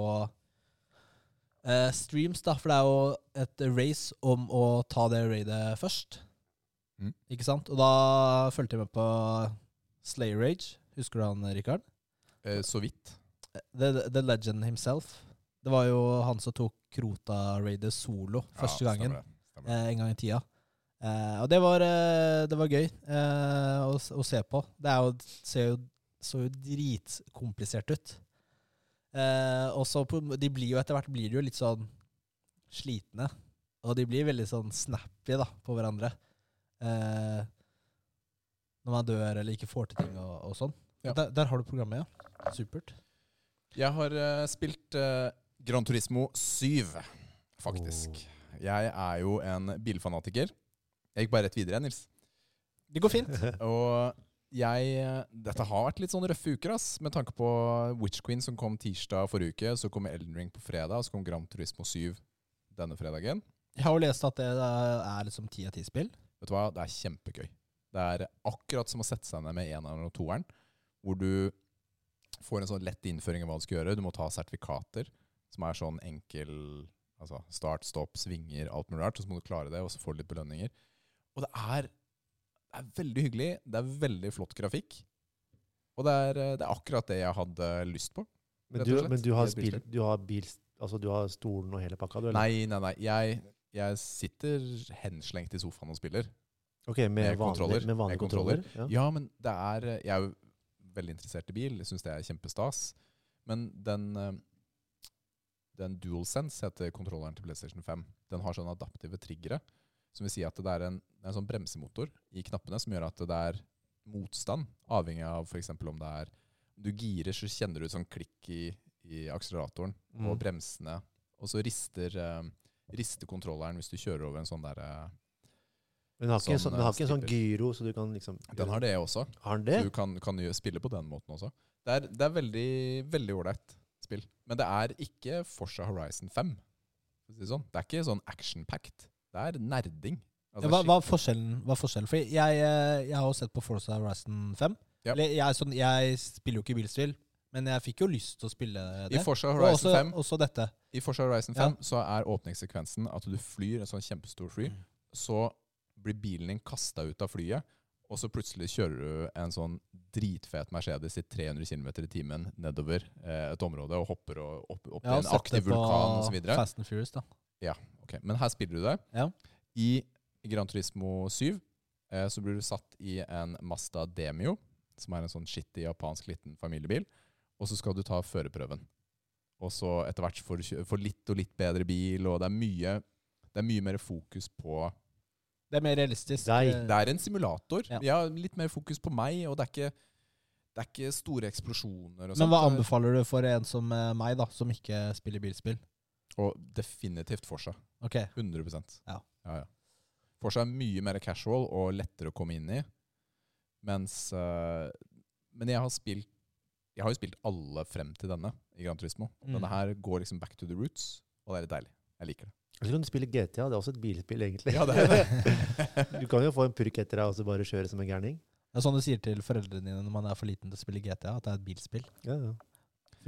Speaker 1: eh, streams, da, for det er jo et race om å ta det raidet først.
Speaker 2: Mm.
Speaker 1: Ikke sant? Og da fulgte jeg med på Slay Rage. Husker du han, Rikard?
Speaker 2: Eh, så vidt.
Speaker 1: The, the legend himself. Det var jo han som tok Krota-raidet solo første
Speaker 2: Ja,
Speaker 1: gangen.
Speaker 2: stemmer det, stemmer det.
Speaker 1: eh, en gang i tida. Eh, og det var, eh, det var gøy eh, å, s- å se på. Det er jo, ser jo, så jo dritkomplisert ut. Eh, og så på- de blir jo etter hvert blir de jo litt sånn slitne. Og de blir veldig sånn snappy da, på hverandre. Eh, når man dør eller ikke får til ting og, og sånn.
Speaker 2: Ja.
Speaker 1: Der, der har du programmet, ja. Supert.
Speaker 2: Jeg har eh, spilt eh, Gran Turismo 7, Oh. faktisk. Jeg er jo en bilfanatiker. Jeg gikk bare rett videre, Nils.
Speaker 1: Det går fint.
Speaker 2: Og jeg eh, Dette har vært litt sånn røffe uker, ass. Med tanke på Witch Queen som kom tirsdag forrige uke, så kom Elden Ring på fredag, og så kom Grand Turismo 7 denne fredagen.
Speaker 1: Jeg har jo lest at det er liksom ti av ti spill.
Speaker 2: Vet du hva, det er kjempegøy. Det er akkurat som å sette seg ned med eneren og toeren, hvor du får en sånn lett innføring av hva du skal gjøre. Du må ta sertifikater, som er sånn enkel altså start, stopp, svinger, alt mulig rart. Og så må du klare det, og så får du litt belønninger. Og det er, det er veldig hyggelig. Det er veldig flott grafikk. Og det er, det er akkurat det jeg hadde lyst på.
Speaker 3: Men
Speaker 2: Rett
Speaker 3: du,
Speaker 2: og slett.
Speaker 3: men du har,
Speaker 2: Det blir
Speaker 3: spil, du har bil... Altså, du har stolen og hele pakka, du? eller?
Speaker 2: Nei, nei, nei. Jeg, jeg sitter henslengt i sofaen og spiller.
Speaker 3: Ok, med,
Speaker 2: Med
Speaker 3: vanlige,
Speaker 2: kontroller.
Speaker 3: Med vanlige
Speaker 2: Med kontroller.
Speaker 3: kontroller. Ja.
Speaker 2: Ja, men det er eh, Jeg er jo veldig interessert i bil. Jeg syns det er kjempestas. Men den, eh, den DualSense heter kontrolleren til PlayStation 5. Den har sånne adaptive triggere. Som vil si at det er en, det er en sånn bremsemotor i knappene som gjør at det er motstand, avhengig av f.eks. om det er du girer, så kjenner du et sånn klikk i, i akseleratoren og
Speaker 3: Mm.
Speaker 2: bremsene. Og så rister, eh, rister kontrolleren hvis du kjører over en sånn derre
Speaker 3: Men den har ikke, en
Speaker 2: Sånn,
Speaker 3: sånn, den har
Speaker 2: eh,
Speaker 3: ikke en sånn
Speaker 2: stripper.
Speaker 3: gyro, så du kan liksom
Speaker 2: Den har det også.
Speaker 3: Har den det?
Speaker 2: Så du kan, kan jo spille på den måten også. Det er, det er veldig veldig ålreit spill. Men det er ikke Forsa Horizon 5. for å si Det sånn. Det er ikke sånn action-packed. Det er nerding. Altså,
Speaker 1: Hva, hva, er forskjellen, hva er forskjellen? Fordi jeg, eh, jeg har jo sett på Forza Horizon 5.
Speaker 2: Ja.
Speaker 1: Eller jeg, er sånn, jeg spiller jo ikke bilspill, men jeg fikk jo lyst til å spille
Speaker 2: skikkelig-
Speaker 1: det.
Speaker 2: I Forsa
Speaker 1: Og
Speaker 2: Horizon
Speaker 1: også,
Speaker 2: 5,
Speaker 1: også dette.
Speaker 2: i Forza Horizon
Speaker 1: Ja.
Speaker 2: 5 så er åpningssekvensen at du flyr en sånn kjempestor fly.
Speaker 1: Mm.
Speaker 2: Så blir bilen din kasta ut av flyet, og så plutselig kjører du en sånn dritfet Mercedes i 300 km i timen nedover eh, et område og hopper og opp, opp
Speaker 1: Jeg har
Speaker 2: i en
Speaker 1: sett det
Speaker 2: aktiv
Speaker 1: på
Speaker 2: vulkan osv.
Speaker 1: Fast and Furious, da.
Speaker 2: Ok, Men her spiller du det.
Speaker 1: Ja.
Speaker 2: I Gran Turismo 7 eh, så blir du satt i en Mazda Demio, som er en sånn skittig japansk liten familiebil, og så skal du ta førerprøven. Og så etter hvert så får du kjø- får litt og litt bedre bil, og det er mye, det er mye mer fokus på
Speaker 1: Det er mer realistisk.
Speaker 3: Nei,
Speaker 1: eh,
Speaker 2: Det er en simulator.
Speaker 1: Ja.
Speaker 2: Ja, litt mer fokus på meg, og det er ikke, det er ikke store eksplosjoner og
Speaker 1: men
Speaker 2: sånt.
Speaker 1: hva anbefaler du for en som eh, meg, da, som ikke spiller bilspill?
Speaker 2: Og definitivt for seg.
Speaker 1: Ok,
Speaker 2: 100
Speaker 1: Ja.
Speaker 2: ja, ja. For seg er mye mer casual og lettere å komme inn i. Mens eh, Men jeg har spilt Jeg har jo spilt alle frem til denne i Gran Turismo. Og
Speaker 1: Mm.
Speaker 2: Denne her går liksom back to the roots, og det er litt deilig. Jeg liker det.
Speaker 3: Eller kan du spille GTA? Det er også et bilspill, egentlig.
Speaker 2: Ja, det er
Speaker 3: du kan jo få en purk etter deg og så bare kjøre som en gærning.
Speaker 1: Det er sånn du sier til foreldrene dine når man er for liten til å spille GTA, at det er et bilspill.
Speaker 3: Ja, ja.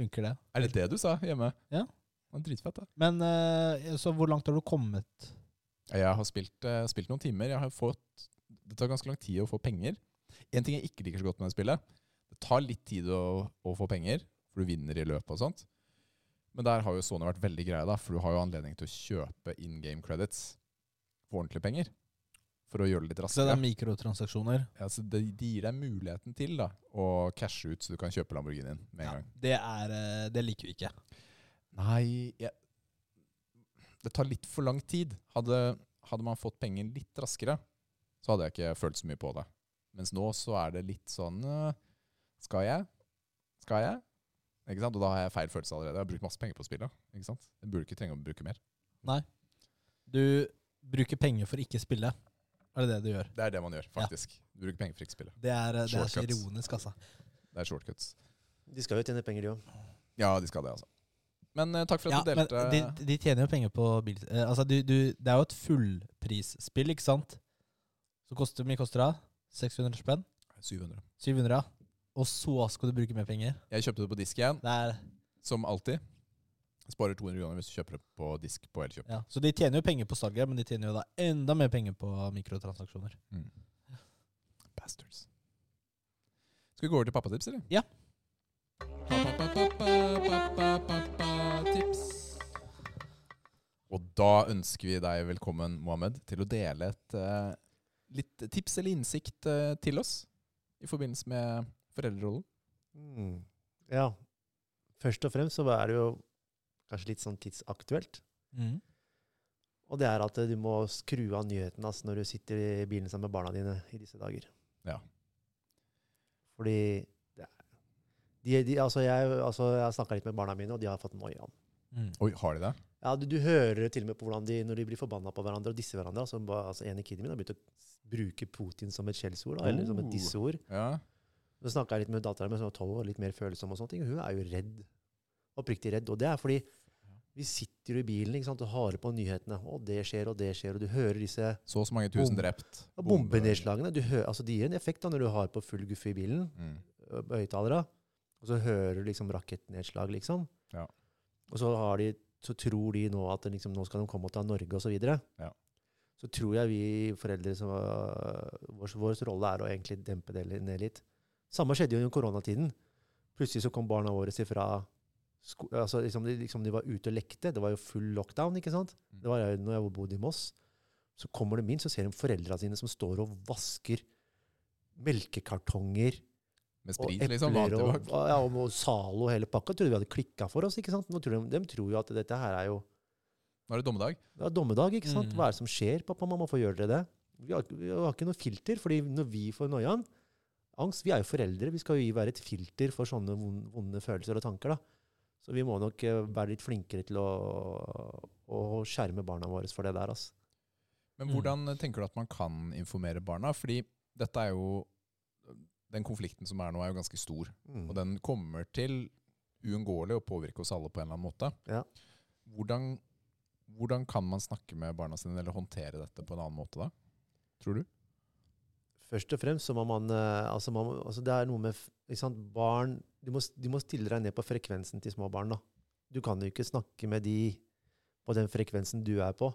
Speaker 1: Funker det?
Speaker 2: Er det det du sa hjemme?
Speaker 1: Ja.
Speaker 2: Det var dritfett, da.
Speaker 1: Men eh, så hvor langt har du kommet?
Speaker 2: Jeg har spilt, eh, spilt noen timer. Jeg har fått, det tar ganske lang tid å få penger. En ting jeg ikke liker så godt med det spillet, det tar litt tid å, å få penger, for du vinner i løpet og sånt. Men der har jo Sony vært veldig greie, da, for du har jo anledning til å kjøpe in game credits for ordentlige penger. For å gjøre det litt
Speaker 1: Så det
Speaker 2: raskere.
Speaker 1: er mikrotransaksjoner.
Speaker 2: Ja, så det, de gir deg muligheten til da, å cashe ut, så du kan kjøpe Lamborghinien med en gang.
Speaker 1: Det, er, eh, det liker vi ikke.
Speaker 2: Nei jeg, Det tar litt for lang tid. Hadde, hadde man fått penger litt raskere, så hadde jeg ikke følt så mye på det. Mens nå så er det litt sånn øh, Skal jeg? Skal jeg? Ikke sant? Og da har jeg feil følelse allerede. Jeg har brukt masse penger på spillet. Ikke sant? Jeg burde ikke trenge å bruke mer.
Speaker 1: Du bruker penger for ikke spille. Er det det du gjør?
Speaker 2: Det er det man gjør, faktisk. Du bruker penger for ikke spillet.
Speaker 1: Det er, eh, det er så
Speaker 2: Shortcuts.
Speaker 1: ironisk, altså.
Speaker 2: Det er shortcuts.
Speaker 3: De skal jo tjene penger, de òg.
Speaker 2: Ja, de skal det, altså. Men øh, takk for at
Speaker 1: Ja,
Speaker 2: du
Speaker 1: men
Speaker 2: delte.
Speaker 1: de, de tjener jo penger på bil... eh, altså, du, du, det er jo et fullprisspill, ikke sant? Så koster, hvor mye koster det? 600 spenn?
Speaker 2: 700.
Speaker 1: 700? ja. Og så skal du bruke mer penger?
Speaker 2: Jeg kjøpte det på disk igjen,
Speaker 1: Det er,
Speaker 2: som alltid. Sparer 200 kroner hvis du kjøper det på disk på Elkjøp.
Speaker 1: ja. Så de tjener jo penger på salget, men de tjener jo da enda mer penger på mikrotransaksjoner.
Speaker 2: Bastards. Skal vi gå over til pappatips, eller?
Speaker 1: Ja.
Speaker 2: Og da ønsker vi deg velkommen, Mohammed, til å dele et eh, litt tips eller innsikt eh, til oss i forbindelse med foreldrerollen.
Speaker 3: Mm. Ja. Først og fremst så er det jo kanskje litt sånn tidsaktuelt.
Speaker 1: Mm.
Speaker 3: Og det er at eh, du må skru av nyhetene ass, når du sitter i bilen sammen med barna dine i disse dager.
Speaker 2: Ja.
Speaker 3: Fordi det er, de, de, altså jeg, altså jeg har snakka litt med barna mine, og de har fått noia.
Speaker 1: Mm.
Speaker 2: Oi, har de det?
Speaker 3: Ja, du, du hører til og med på hvordan de, når de blir forbanna på hverandre og disser hverandre. Altså, ba- altså En i kiden min har begynt å s- bruke Putin som et skjellsord, da, eller som
Speaker 2: Oh.
Speaker 3: et disseord.
Speaker 2: Ja.
Speaker 3: Så snakka jeg litt med dattera mi, som er tolv og litt mer følsom, og sånne ting. Hun er jo redd. Oppriktig redd. Og det er fordi vi sitter jo i bilen ikke sant, og hører på nyhetene. Og det skjer, og det skjer. Og du hører disse
Speaker 2: Så og så mange tusen
Speaker 3: Bom-
Speaker 2: drept.
Speaker 3: ja, bombenedslagene. Du hører, altså, det gir en effekt da, når du har på full guffe i bilen,
Speaker 2: Mm.
Speaker 3: ø, på høyttalere, og så hører du liksom rakettnedslag, liksom.
Speaker 2: Ja.
Speaker 3: Og så, har de, så tror de nå at det liksom, nå skal de komme og ta Norge, og så videre.
Speaker 2: Ja.
Speaker 3: Så tror jeg vi foreldre som var- vår, vår rolle er å egentlig dempe det ned litt. Samme skjedde jo i koronatiden. Plutselig så kom barna våre ifra sko altså liksom de, liksom de var ute og lekte. Det var jo full lockdown, ikke sant?
Speaker 2: Mm.
Speaker 3: Det var jeg, når jeg bodde i Moss. Så kommer de inn, så ser de foreldra sine som står og vasker melkekartonger
Speaker 2: Med
Speaker 3: og
Speaker 2: sprit,
Speaker 3: epler
Speaker 2: liksom. vanlig
Speaker 3: og,
Speaker 2: tobakk.
Speaker 3: ja, og, og Zalo og hele pakka trodde vi hadde klikka for oss. ikke sant? Nå tror de, de tror jo at dette her er jo
Speaker 2: Nå er det dommedag.
Speaker 3: det er dommedag. ikke sant?
Speaker 1: Mm.
Speaker 3: Hva er det som skjer, pappa og mamma? Hvorfor gjør dere det? Vi har, vi har ikke noe filter, fordi når vi får noiaen Angst Vi er jo foreldre. Vi skal jo gi- være et filter for sånne von- vonde følelser og tanker. da. Så vi må nok eh, være litt flinkere til å, å skjerme barna våre for det der. altså.
Speaker 2: Men
Speaker 1: Mm.
Speaker 2: hvordan tenker du at man kan informere barna? Fordi dette er jo Den konflikten som er nå, er jo ganske stor.
Speaker 3: Mm.
Speaker 2: Og den kommer til uunngåelig å påvirke oss alle på en eller annen måte.
Speaker 3: Ja.
Speaker 2: Hvordan, hvordan kan man snakke med barna sine, eller håndtere dette på en annen måte da? Tror du?
Speaker 3: Først og fremst så må man eh, altså, man, må- altså Det er noe med f- ikke sant? barn du må, s- du må stille deg ned på frekvensen til små barn. da. Du kan jo ikke snakke med de på den frekvensen du er på.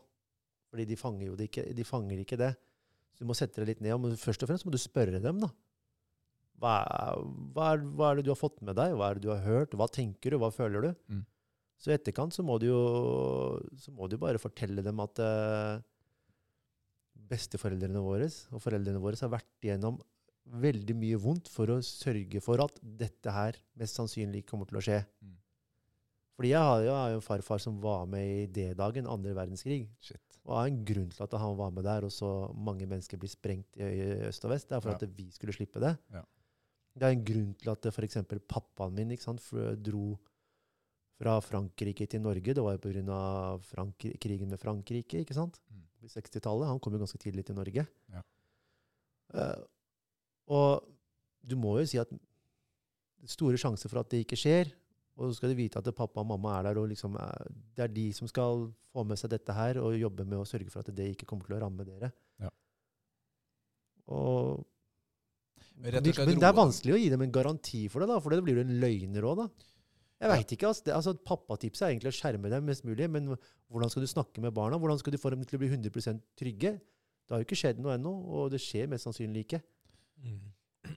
Speaker 3: Fordi de fanger jo det ikke. De fanger ikke det. Så du må sette deg litt ned. Men først og fremst må du spørre dem, da. Hva er, hva, er, hva er det du har fått med deg? Hva er det du har hørt? Hva tenker du? Hva føler du?
Speaker 2: Mm.
Speaker 3: Så i etterkant så må du jo så må du bare fortelle dem at eh, besteforeldrene våre og foreldrene våre har vært igjennom veldig mye vondt for å sørge for at dette her mest sannsynlig kommer til å skje.
Speaker 2: Mm.
Speaker 3: Fordi jeg har jo, jeg har jo en farfar som var med i D-dagen, andre verdenskrig.
Speaker 2: Shit.
Speaker 3: Og det er en grunn til at han var med der, og så mange mennesker blir sprengt i ø- øst og vest. Det er
Speaker 2: Ja.
Speaker 3: for at vi skulle slippe det.
Speaker 2: Ja.
Speaker 3: Det er en grunn til at f.eks. pappaen min ikke sant, fl- dro fra Frankrike til Norge. Det var jo pga. Frankri krigen med Frankrike ikke sant?
Speaker 2: Mm.
Speaker 3: på 60-tallet. Han kom jo ganske tidlig til Norge.
Speaker 2: Ja.
Speaker 3: Eh, og du må jo si at det er store sjanser for at det ikke skjer. Og så skal de vite at pappa og mamma er der, og liksom er, det er de som skal få med seg dette her og jobbe med å sørge for at det ikke kommer til å ramme dere.
Speaker 2: Ja.
Speaker 3: Og,
Speaker 2: Men
Speaker 3: men,
Speaker 2: rett og slett
Speaker 3: men det
Speaker 2: roe
Speaker 3: er
Speaker 2: dem.
Speaker 3: vanskelig å gi dem en garanti for det, da, for det blir jo en løgner òg, da. Jeg vet ikke, altså, det, altså Pappatipset er egentlig å skjerme dem mest mulig, men hvordan skal du snakke med barna? Hvordan skal du få dem til å bli 100 trygge? Det har jo ikke skjedd noe ennå, og det skjer mest sannsynlig ikke.
Speaker 1: Mm.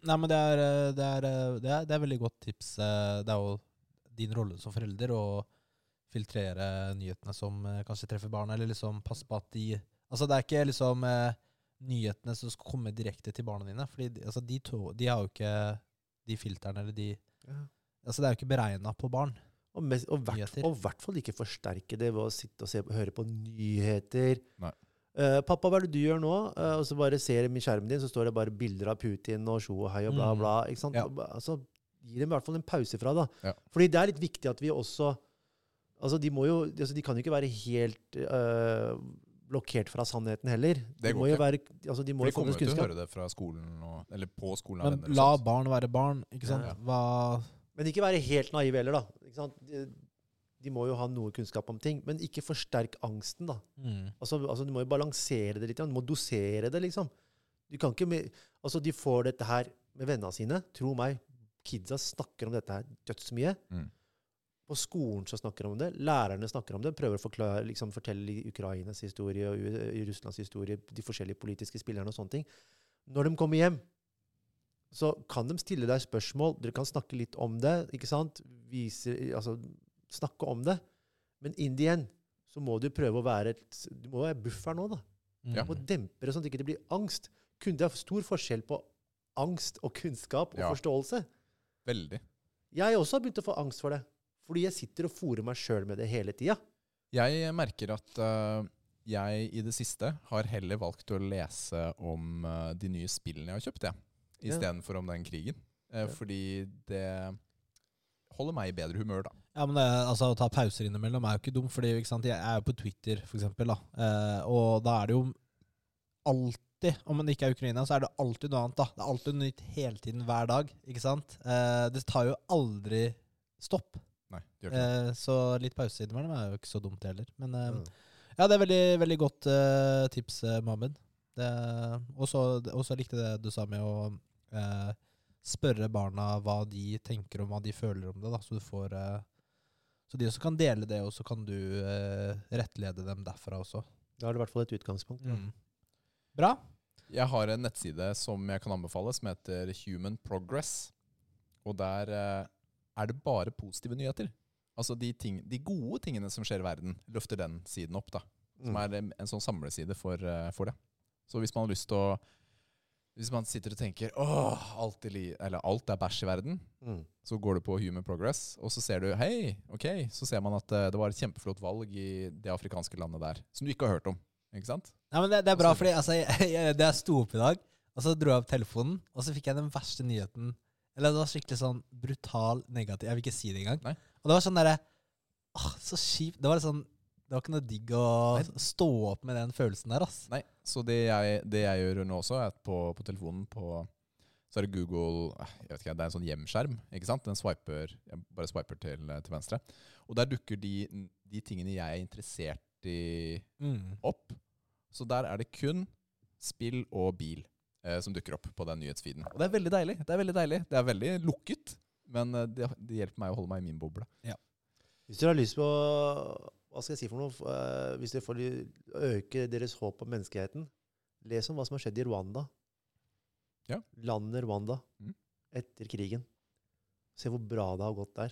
Speaker 1: Nei, men det er, eh, det, er, eh, det, er, det er veldig godt tips. eh, Det er jo din rolle som forelder å filtrere nyhetene som eh, kanskje treffer barna, eller liksom passe på at de Altså, det er ikke liksom eh, nyhetene som skal komme direkte til barna dine, fordi de- altså, de to De har jo ikke de filterne eller de Altså, det er jo ikke beregna på barn.
Speaker 3: Og, mest, og, hvert,
Speaker 1: Nyheter.
Speaker 3: og hvert fall ikke forsterke det ved å sitte og se, på- høre på nyheter.
Speaker 2: Nei.
Speaker 3: Eh, 'Pappa, hva er det du gjør nå?' Eh, og så bare ser de i skjermen din, så står det bare bilder av Putin og tjo og hei og bla,
Speaker 1: Mm.
Speaker 3: bla. ikke sant?
Speaker 1: Ja.
Speaker 3: Og ba- Altså, Gi dem i hvert fall en pause fra det.
Speaker 2: Ja.
Speaker 3: Fordi det er litt viktig at vi også Altså, De må jo, altså, de kan jo ikke være helt eh, blokkert fra sannheten heller.
Speaker 2: Det
Speaker 3: de
Speaker 2: går
Speaker 3: må jo
Speaker 2: ikke.
Speaker 3: være, altså, de må
Speaker 2: For de
Speaker 3: jo få
Speaker 2: kommer
Speaker 3: med
Speaker 2: jo
Speaker 3: seg
Speaker 2: til å
Speaker 3: kunnskap.
Speaker 2: høre det fra skolen, og, eller på skolen. av
Speaker 1: Men
Speaker 2: venner og
Speaker 1: la
Speaker 2: sånt.
Speaker 1: barn være barn, ikke sant?
Speaker 2: Ja.
Speaker 1: Hva
Speaker 3: Men ikke være helt naive heller, da. Ikke sant? De, de må jo ha noe kunnskap om ting. Men ikke forsterk angsten, da.
Speaker 1: mm.
Speaker 3: Altså, altså Du må jo balansere det litt. ja. Du må dosere det, liksom. Du kan ikke med, Altså, de får dette her med vennene sine. Tro meg, kidsa snakker om dette her dødsmye.
Speaker 2: Mm.
Speaker 3: På skolen så snakker de om det. Lærerne snakker om det. Prøver å forklare, liksom, fortelle i Ukrainas historie og U- i Russlands historie, de forskjellige politiske spillerne og sånne ting. Når de kommer hjem, så kan de stille deg spørsmål. Dere kan snakke litt om det. ikke sant? Vise, altså, snakke om det. Men in the end så må du prøve å være et, Du må være buffer nå, da.
Speaker 1: Mm.
Speaker 2: Ja.
Speaker 3: Du må dempe det, sånn at det ikke blir angst. Kun- Det er stor forskjell på angst og kunnskap og
Speaker 2: Ja.
Speaker 3: forståelse.
Speaker 2: Veldig.
Speaker 3: Jeg også har begynt å få angst for det. Fordi jeg sitter og fôrer meg sjøl med det hele tida.
Speaker 2: Jeg merker at øh, jeg i det siste har heller valgt å lese om øh, de nye spillene jeg har kjøpt, jeg.
Speaker 3: Ja.
Speaker 2: Istedenfor om den krigen. Eh,
Speaker 3: Ja.
Speaker 2: Fordi det holder meg i bedre humør, da.
Speaker 1: Ja, men det, er- altså, Å ta pauser innimellom er jo ikke dumt, fordi ikke sant? jeg er jo på Twitter, for eksempel. Da. Eh, og da er det jo alltid, om det ikke er Ukraina, så er det alltid noe annet. da. Det er alltid noe nytt hele tiden, hver dag. ikke sant? Eh, det tar jo aldri stopp.
Speaker 2: Nei, det gjør ikke det.
Speaker 1: Eh, så litt pause innimellom er jo ikke så dumt heller. Men eh,
Speaker 3: Mm.
Speaker 1: ja, det er veldig, veldig godt eh, tips, eh, Mohammed. Det- Og så og så likte jeg det du sa med å eh, spørre barna hva de tenker om, hva de føler om det, da, så du får eh, Så de også kan dele det, og så kan du eh, rettlede dem derfra også. Mm.
Speaker 3: Da har du i hvert fall et utgangspunkt.
Speaker 2: Mm.
Speaker 3: ja.
Speaker 1: Bra.
Speaker 2: Jeg har en nettside som jeg kan anbefale, som heter Human Progress. Og der eh, er det bare positive nyheter. Altså de, ting, de gode tingene som skjer i verden, løfter den siden opp. da. Som
Speaker 3: Mm.
Speaker 2: er en, en sånn samleside for, eh, for det. Så hvis man har lyst til å Hvis man sitter og tenker åh, alt, i li eller, alt er bæsj i verden,
Speaker 3: Mm.
Speaker 2: så går du på Human Progress, og så ser du Hei, ok. Så ser man at eh, det var et kjempeflott valg i det afrikanske landet der. Som du ikke har hørt om. Ikke sant?
Speaker 1: Nei, men det, det er bra, fordi altså, jeg, jeg, da jeg sto opp i dag, og så dro jeg opp telefonen, og så fikk jeg den verste nyheten. Eller det var skikkelig sånn brutal negativ. Jeg vil ikke si det engang.
Speaker 2: Nei.
Speaker 1: Og det var sånn derre Åh, så kjipt. Det var litt sånn Det var ikke noe digg å
Speaker 2: Nei.
Speaker 1: stå opp med den følelsen der, ass.
Speaker 2: Nei, så det jeg, det jeg gjør nå også, er at på, på telefonen på, så er det Google eh, jeg vet ikke, Det er en sånn hjemskjerm. ikke sant? Den swiper, jeg bare swiper til, til venstre. Og der dukker de, de tingene jeg er interessert i,
Speaker 1: Mm.
Speaker 2: opp. Så der er det kun spill og bil eh, som dukker opp på den nyhetsfeeden. Og det er veldig deilig. Det er veldig deilig. Det er veldig lukket, men eh, det, det hjelper meg å holde meg i min boble.
Speaker 3: Hvis dere har lyst på Hva skal jeg si for noe? eh, Hvis dere får ly- øke deres håp om menneskeheten, les om hva som har skjedd i Rwanda.
Speaker 2: Ja.
Speaker 3: Landet Rwanda
Speaker 2: Mm.
Speaker 3: etter krigen. Se hvor bra det har gått der.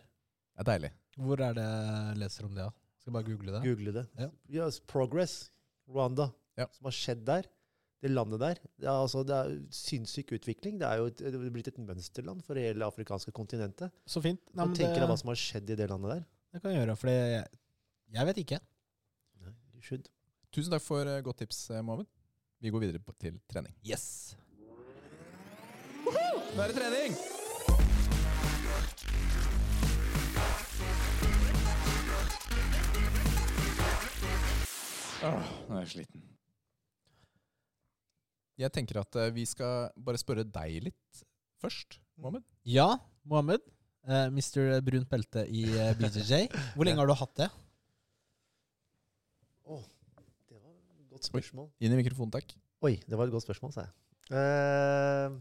Speaker 2: Det er deilig.
Speaker 1: Hvor er det jeg leser om det, da? Skal jeg bare google det.
Speaker 3: Google det.
Speaker 1: Ja.
Speaker 3: Yes, progress Rwanda,
Speaker 2: Ja.
Speaker 3: som har skjedd der. Det landet der. Det er, altså, det er sinnssyk utvikling. Det er jo et, det er blitt et mønsterland for hele afrikanske kontinentet.
Speaker 1: Så fint. Nei,
Speaker 3: Hva
Speaker 1: men
Speaker 3: tenker deg hva
Speaker 1: det,
Speaker 3: som har skjedd i det landet der?
Speaker 1: det kan jeg gjøre, for jeg, jeg vet ikke.
Speaker 3: Nei, you should.
Speaker 2: Tusen takk for eh, godt tips, eh, Mohammed. Vi går videre på, til trening.
Speaker 1: Yes.
Speaker 2: Nå er det trening! Åh, Ah, nå er jeg sliten. Jeg tenker at eh, vi skal bare spørre deg litt først, Mohammed.
Speaker 1: Ja, Mohammed. eh, Mr. Brunt belte i eh, BJJ. Hvor lenge har du hatt det?
Speaker 3: Det var et godt spørsmål.
Speaker 2: Inn i mikrofonen, takk.
Speaker 3: Oi, det var et godt spørsmål, sa jeg. Eh,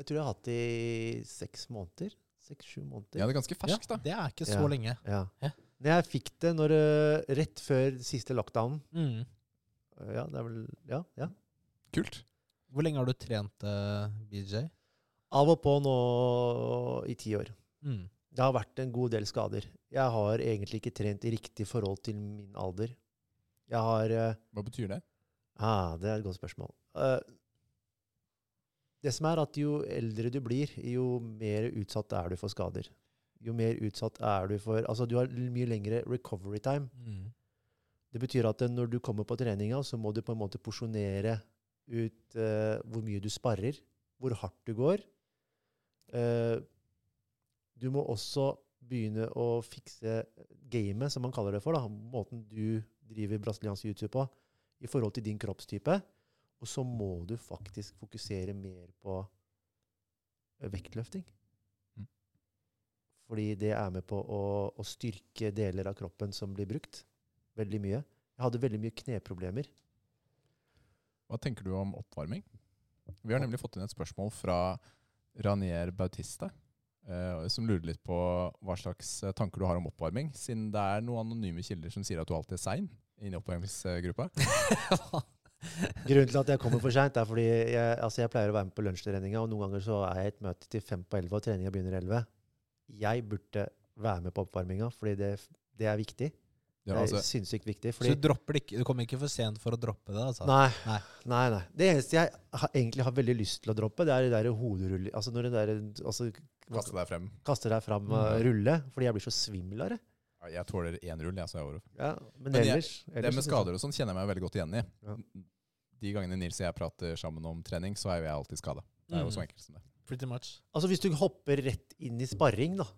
Speaker 3: jeg tror jeg har hatt det i seks måneder. Seks-sju måneder.
Speaker 2: Ja, det er ganske ferskt, da.
Speaker 1: Det er ikke så
Speaker 3: Ja.
Speaker 1: lenge.
Speaker 3: Ja.
Speaker 1: Ja.
Speaker 3: Når jeg fikk det når, eh, rett før siste lockdown
Speaker 1: Mm.
Speaker 3: eh, Ja, det er vel Ja. ja.
Speaker 2: Kult.
Speaker 1: Hvor lenge har du trent eh, BJ?
Speaker 3: Av og på nå i ti år.
Speaker 1: Mm.
Speaker 3: Det har vært en god del skader. Jeg har egentlig ikke trent i riktig forhold til min alder. Jeg har eh,
Speaker 2: Hva betyr det?
Speaker 3: ah, Det er et godt spørsmål. Eh, det som er at jo eldre du blir, jo mer utsatt er du for skader. Jo mer utsatt er du for Altså, du har l- mye lengre recovery time.
Speaker 1: Mm.
Speaker 3: Det betyr at eh, når du kommer på treninga, så må du på en måte porsjonere ut eh, hvor mye du sparrer, hvor hardt du går. Eh, du må også begynne å fikse gamet, som man kaller det for. Da. Måten du driver brasiliansk jiu-jitsu på i forhold til din kroppstype. Og så må du faktisk fokusere mer på eh, vektløfting.
Speaker 2: Mm.
Speaker 3: Fordi det er med på å, å styrke deler av kroppen som blir brukt. Veldig mye. Jeg hadde veldig mye kneproblemer.
Speaker 2: Hva tenker du om oppvarming? Vi har nemlig fått inn et spørsmål fra Ranier Bautista, eh, som lurer litt på hva slags eh, tanker du har om oppvarming, siden det er noen anonyme kilder som sier at du alltid er sein inni oppvarmingsgruppa.
Speaker 3: Grunnen til at jeg kommer for seint, er fordi jeg, altså jeg pleier å være med på lunsjtreninga, og noen ganger så er jeg i et møte til fem på elleve, og treninga begynner elleve. Jeg burde være med på oppvarminga, fordi det, det er viktig.
Speaker 2: Det er
Speaker 3: Det er
Speaker 2: altså,
Speaker 3: sinnssykt viktig.
Speaker 1: Så
Speaker 3: Fordi,
Speaker 1: du dropper det ikke? Du kommer ikke for sent for å droppe det? altså?
Speaker 3: nei, nei,
Speaker 1: Nei.
Speaker 3: nei. Det eneste jeg har, egentlig har veldig lyst til å droppe, det er de der hoderuller... Altså når de der altså,
Speaker 2: kaste deg frem.
Speaker 3: kaster deg fram og
Speaker 2: Mm.
Speaker 3: ruller, fordi jeg blir så svimmel av det.
Speaker 2: Ja, Jeg tåler én rull, jeg, så jeg er over.
Speaker 3: Ja, men,
Speaker 2: Men jeg-
Speaker 3: ellers,
Speaker 2: Det
Speaker 3: ellers så
Speaker 2: med
Speaker 3: synes jeg-
Speaker 2: skader og sånn kjenner jeg meg veldig godt igjen i.
Speaker 3: Ja.
Speaker 2: De gangene Nils og jeg prater sammen om trening, så er jo jeg alltid skada. Det er jo så
Speaker 1: Mm.
Speaker 2: enkelt som det.
Speaker 1: Pretty much.
Speaker 3: Altså hvis du hopper rett inn i sparring, da.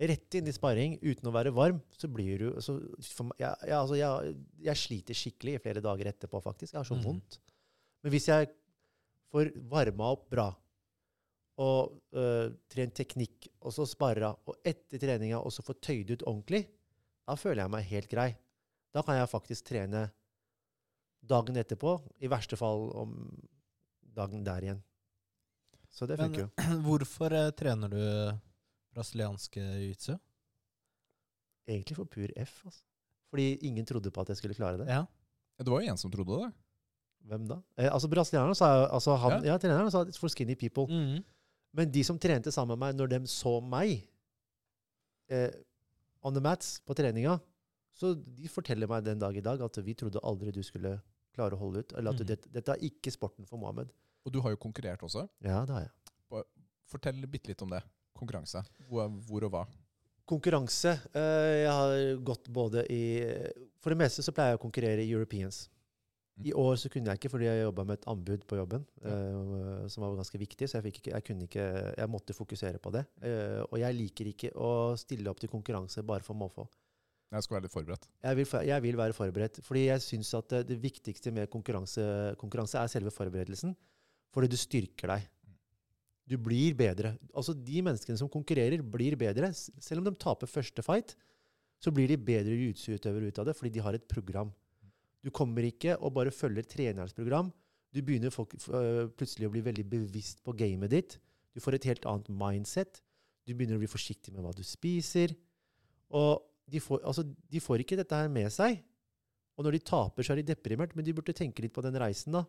Speaker 3: Rett inn i sparring uten å være varm, så blir du så, for, meg- jeg, jeg, altså, jeg, jeg sliter skikkelig i flere dager etterpå, faktisk. Jeg har så
Speaker 1: Mhm.
Speaker 3: vondt. Men hvis jeg får varma opp bra, og øh, trent teknikk, og så sparra, og etter treninga også får tøyd ut ordentlig, da føler jeg meg helt grei. Da kan jeg faktisk trene dagen etterpå, i verste fall om dagen der igjen. Så det
Speaker 1: Men-
Speaker 3: funker jo.
Speaker 1: Hvorfor eh, trener du brasilianske jiu-jitsu?
Speaker 3: Egentlig for pur F, altså. Fordi ingen trodde på at jeg skulle klare det.
Speaker 1: Ja.
Speaker 2: Ja, det var jo en som trodde det.
Speaker 3: Hvem da? Eh, altså Brasilianeren sa jo- altså han, ja. treneren sa it's for skinny people.
Speaker 1: Mhm.
Speaker 3: Men de som trente sammen med meg, når de så meg eh, on the mats på treninga, så de forteller meg den dag i dag at vi trodde aldri du skulle klare å holde ut. Eller at
Speaker 1: Mhm.
Speaker 3: dette, dette er ikke sporten for Mohammed.
Speaker 2: Og du har jo konkurrert også.
Speaker 3: Ja, det har jeg.
Speaker 2: Fortell bitte litt om det. Konkurranse. Hvor, hvor og hva.
Speaker 3: Konkurranse. Eh, jeg har gått både i For det meste så pleier jeg å konkurrere i Europeans. I år så kunne jeg ikke fordi jeg jobba med et anbud på jobben eh, som var ganske viktig. Så jeg, fikk ikke, jeg kunne ikke Jeg måtte fokusere på det. Eh, og jeg liker ikke å stille opp til konkurranse bare for måfå.
Speaker 2: Jeg skal være litt forberedt.
Speaker 3: Jeg vil, for- jeg vil være forberedt. Fordi jeg syns at eh, det, det viktigste med konkurranse, konkurranse er selve forberedelsen. Fordi du styrker deg. Du blir bedre. Altså De menneskene som konkurrerer, blir bedre. S- Selv om de taper første fight, så blir de bedre jiu-jitsu-utøvere ut av det fordi de har et program. Du kommer ikke og bare følger trenerens program. Du begynner folk, f- øh, plutselig å bli veldig bevisst på gamet ditt. Du får et helt annet mindset. Du begynner å bli forsiktig med hva du spiser. Og de får, altså, de får ikke dette her med seg. Og når de taper, så er de deprimert, men de burde tenke litt på den reisen, da.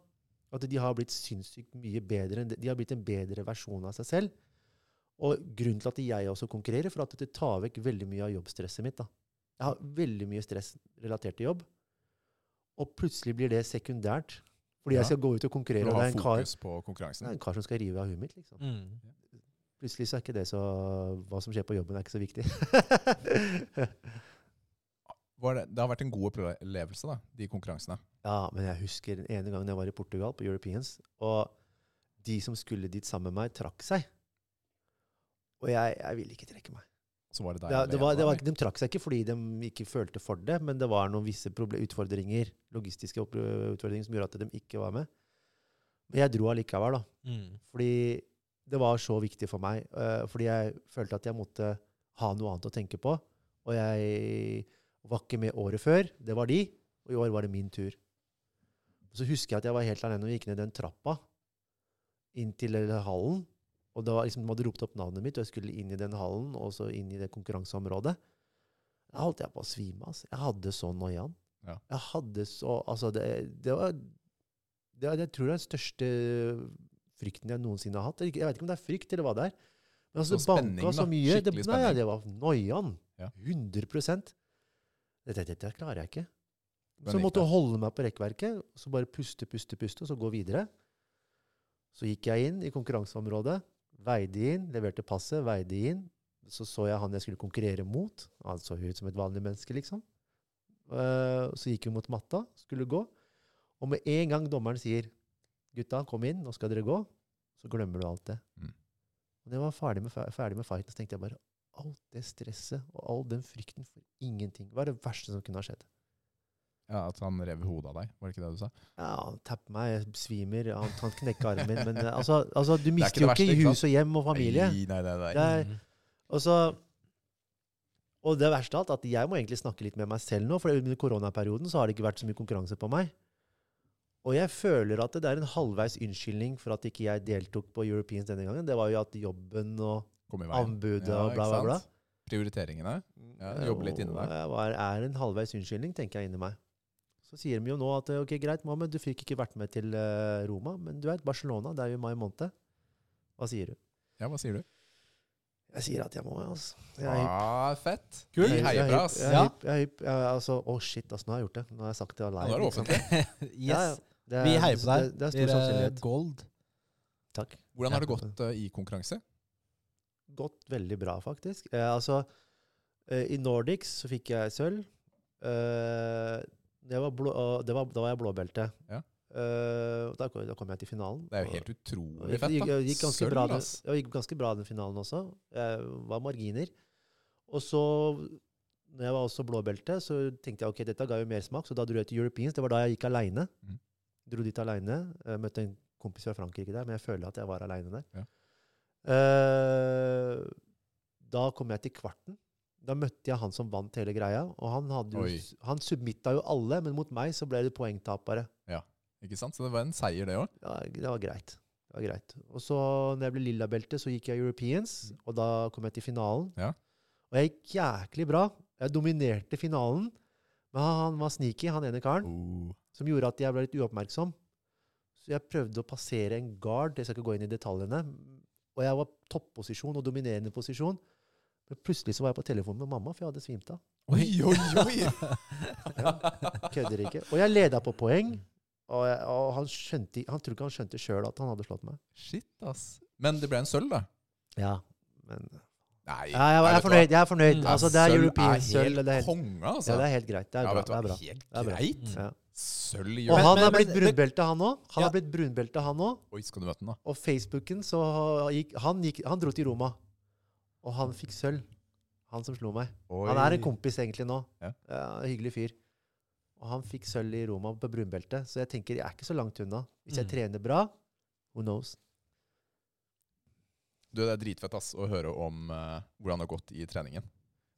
Speaker 3: At de har blitt sinnssykt mye bedre. enn det- De har blitt en bedre versjon av seg selv. Og grunnen til at jeg også konkurrerer, for at det tar vekk veldig mye av jobbstresset mitt. da. Jeg har veldig mye stress relatert til jobb, og plutselig blir det sekundært. Fordi
Speaker 2: Ja.
Speaker 3: jeg skal gå ut og konkurrere,
Speaker 2: For å
Speaker 3: og
Speaker 2: ha
Speaker 3: det er en kar,
Speaker 2: fokus på
Speaker 3: det er
Speaker 2: konkurransen.
Speaker 3: en kar som skal rive av huet mitt, liksom
Speaker 1: Mhm.
Speaker 3: plutselig så er ikke det så Hva som skjer på jobben, er ikke så viktig.
Speaker 2: Var det, det har vært en god opplevelse, da, de konkurransene.
Speaker 3: ja, men jeg husker den ene gangen jeg var i Portugal, på Europeans, og de som skulle dit sammen med meg, trakk seg. Og jeg, jeg ville ikke trekke meg.
Speaker 2: Så var det deg
Speaker 3: Det, det
Speaker 2: alene,
Speaker 3: var, det var,
Speaker 2: eller?
Speaker 3: ikke- de trakk seg ikke fordi de ikke følte for det, men det var noen visse proble- utfordringer, logistiske opp- utfordringer som gjorde at de ikke var med. Men jeg dro allikevel, da.
Speaker 1: Mhm.
Speaker 3: Fordi det var så viktig for meg. eh, fordi jeg følte at jeg måtte ha noe annet å tenke på. Og jeg var ikke med året før. Det var de. Og i år var det min tur. Så husker jeg at jeg var helt alene og gikk ned den trappa inn til den hallen. Og da liksom, de hadde ropt opp navnet mitt, og jeg skulle inn i den hallen og så inn i det konkurranseområdet. Da holdt jeg på å svime. Altså. Jeg hadde så noiaen.
Speaker 2: Ja.
Speaker 3: Jeg hadde så Altså, det, det var det, Jeg tror det er den største frykten jeg noensinne har hatt. Eller ikke- Jeg vet ikke om det er frykt, eller hva det er. Men altså,
Speaker 2: Så
Speaker 3: det banka
Speaker 2: spenning, da.
Speaker 3: så mye. Det,
Speaker 2: Skikkelig
Speaker 3: nei,
Speaker 2: spenning.
Speaker 3: det var noiaen.
Speaker 2: Ja.
Speaker 3: 100 dette, dette klarer jeg ikke.
Speaker 2: Hvordan
Speaker 3: Så jeg
Speaker 2: gikk
Speaker 3: måtte
Speaker 2: det?
Speaker 3: holde meg på rekkverket, og så bare puste, puste, puste, og så gå videre. Så gikk jeg inn i konkurranseområdet, veide inn, leverte passet, veide inn. Så så jeg han jeg skulle konkurrere mot. Han så ut som et vanlig menneske, liksom. Eh, Så gikk vi mot matta, skulle gå. Og med en gang dommeren sier 'Gutta, kom inn, nå skal dere gå', så glemmer du alt det.
Speaker 2: Mm.
Speaker 3: Og det var ferdig med, fe- ferdig med fighten, så tenkte jeg bare alt det stresset og all den frykten for ingenting. Hva er det verste som kunne ha skjedd?
Speaker 2: Ja, At han rev hodet av deg, var det ikke det du sa?
Speaker 3: Ja, han tapper meg, jeg svimer, han, han knekker armen min. Men eh, altså, altså du
Speaker 2: ikke
Speaker 3: mister
Speaker 2: det
Speaker 3: jo
Speaker 2: verste,
Speaker 3: ikke
Speaker 2: ikke
Speaker 3: hus og hjem og familie.
Speaker 2: Nei, nei, nei. nei.
Speaker 3: Det er,
Speaker 1: Mhm.
Speaker 3: og, så, og det verste av alt, at jeg må egentlig snakke litt med meg selv nå, for under koronaperioden så har det ikke vært så mye konkurranse på meg. Og jeg føler at det er en halvveis unnskyldning for at ikke jeg deltok på Europeans denne gangen. Det var jo at jobben og
Speaker 2: Kom i veien.
Speaker 3: anbudet
Speaker 2: Ja,
Speaker 3: og bla, bla,
Speaker 2: ikke
Speaker 3: bla.
Speaker 2: sant? Prioriteringene. Ja,
Speaker 3: Eh,
Speaker 2: jobbe litt inni deg.
Speaker 3: Jeg var, er en halvveis unnskyldning, tenker jeg inni meg. Så sier de jo nå at eh, ok, greit, Mohammed, du fikk ikke vært med til eh, Roma, men du vet, Barcelona, det er jo i mai måned. Hva sier du?
Speaker 2: Ja, hva sier du?
Speaker 3: Jeg sier at jeg må, altså. Jeg er hypp.
Speaker 2: Ja, fett.
Speaker 1: Kult.
Speaker 2: Vi
Speaker 3: Jeg er
Speaker 2: Ah, heier
Speaker 3: hypp,
Speaker 2: bra, ass.
Speaker 3: Jeg er
Speaker 1: Ja.
Speaker 3: hypp, jeg er hypp. Jeg er altså, å shit, altså, nå har jeg gjort det. Nå har jeg sagt det
Speaker 2: Ja,
Speaker 3: live.
Speaker 2: nå er det
Speaker 3: liksom.
Speaker 2: offentlig.
Speaker 1: Yes.
Speaker 3: Ja, ja. Det er-
Speaker 1: Vi heier på deg.
Speaker 3: Det, det er stor
Speaker 1: Dere
Speaker 3: sannsynlighet.
Speaker 1: Gold.
Speaker 3: Takk.
Speaker 2: Hvordan har det gått eh, i konkurranse?
Speaker 3: gått veldig bra, faktisk. Eh, altså, eh, i Nordics så fikk jeg sølv. Eh, det var blå, og det var, da var jeg blåbelte.
Speaker 2: Ja.
Speaker 3: Eh, og da, kom- da kom jeg til finalen.
Speaker 2: Det er jo
Speaker 3: og-
Speaker 2: helt
Speaker 3: og
Speaker 2: utrolig
Speaker 3: det
Speaker 2: fett,
Speaker 3: gikk,
Speaker 2: da.
Speaker 3: det gikk ganske bra, den-
Speaker 2: ass.
Speaker 3: ja, det gikk ganske bra den finalen også. Jeg var marginer. Og så, når jeg var også blåbelte, så tenkte jeg ok, dette ga jo mersmak, så da dro jeg til Europeans. Det var da jeg gikk aleine.
Speaker 2: Mhm.
Speaker 3: Dro dit aleine. Møtte en kompis fra Frankrike der, men jeg føler at jeg var aleine der.
Speaker 2: Ja.
Speaker 3: Eh, da kom jeg til kvarten. Da møtte jeg han som vant hele greia. Og han, hadde jo,
Speaker 2: Oi.
Speaker 3: han submitta jo alle, men mot meg så ble det poengtapere.
Speaker 2: Ikke sant? Så det var en seier, det òg.
Speaker 3: Ja, det var greit. Det var greit. Og så når jeg ble lillabelte, så gikk jeg Europeans, og da kom jeg til finalen.
Speaker 2: Ja.
Speaker 3: Og jeg gikk jæklig bra. Jeg dominerte finalen, men han, han var sneaky, han ene karen,
Speaker 2: Oh.
Speaker 3: som gjorde at jeg ble litt uoppmerksom. Så jeg prøvde å passere en guard, jeg skal ikke gå inn i detaljene, og jeg var topposisjon og dominerende posisjon. Men plutselig så var jeg på telefonen med mamma, for jeg hadde svimt av.
Speaker 2: Oi, oi, oi!
Speaker 3: Kødder ikke. Og jeg leda på poeng, og, jeg, og han skjønte, han tror ikke han skjønte sjøl at han hadde slått meg.
Speaker 2: Shit, ass. Men det ble en sølv, da.
Speaker 3: Ja, men
Speaker 2: Nei,
Speaker 3: Ja, jeg,
Speaker 2: nei,
Speaker 3: jeg
Speaker 2: vet
Speaker 3: er
Speaker 2: du
Speaker 3: fornøyd.
Speaker 2: hva?
Speaker 3: jeg er fornøyd.
Speaker 1: Mm.
Speaker 3: Altså, det er
Speaker 2: sølv
Speaker 3: European sølv. og
Speaker 2: er
Speaker 3: Det, er
Speaker 2: helt
Speaker 3: helt-
Speaker 2: konge, altså.
Speaker 3: ja, det er helt greit. Det er
Speaker 2: Ja,
Speaker 3: bra.
Speaker 2: vet du hva?
Speaker 3: Det er bra.
Speaker 2: Helt
Speaker 3: er bra.
Speaker 2: greit.
Speaker 1: Mm.
Speaker 3: Ja.
Speaker 2: Sølv
Speaker 3: Og
Speaker 2: gjør
Speaker 3: han
Speaker 1: Men-
Speaker 3: har
Speaker 1: men-
Speaker 3: blitt
Speaker 1: men- men-
Speaker 3: brunbelte, han òg. Han
Speaker 1: Ja.
Speaker 3: har blitt brunbelte, han òg.
Speaker 2: Oi, skal du møte den, da?
Speaker 3: Og Facebooken, så gikk han, gikk, han dro til Roma. Og han fikk sølv. Han som slo meg. Han er en kompis egentlig nå.
Speaker 2: Ja.
Speaker 3: Ja, hyggelig fyr. Og han fikk sølv i Roma på brunbelte, så jeg tenker jeg er ikke så langt unna. Hvis jeg
Speaker 1: Mm.
Speaker 3: trener bra, who knows?
Speaker 2: Du, det er dritfett ass, å høre om eh, hvordan det har gått i treningen.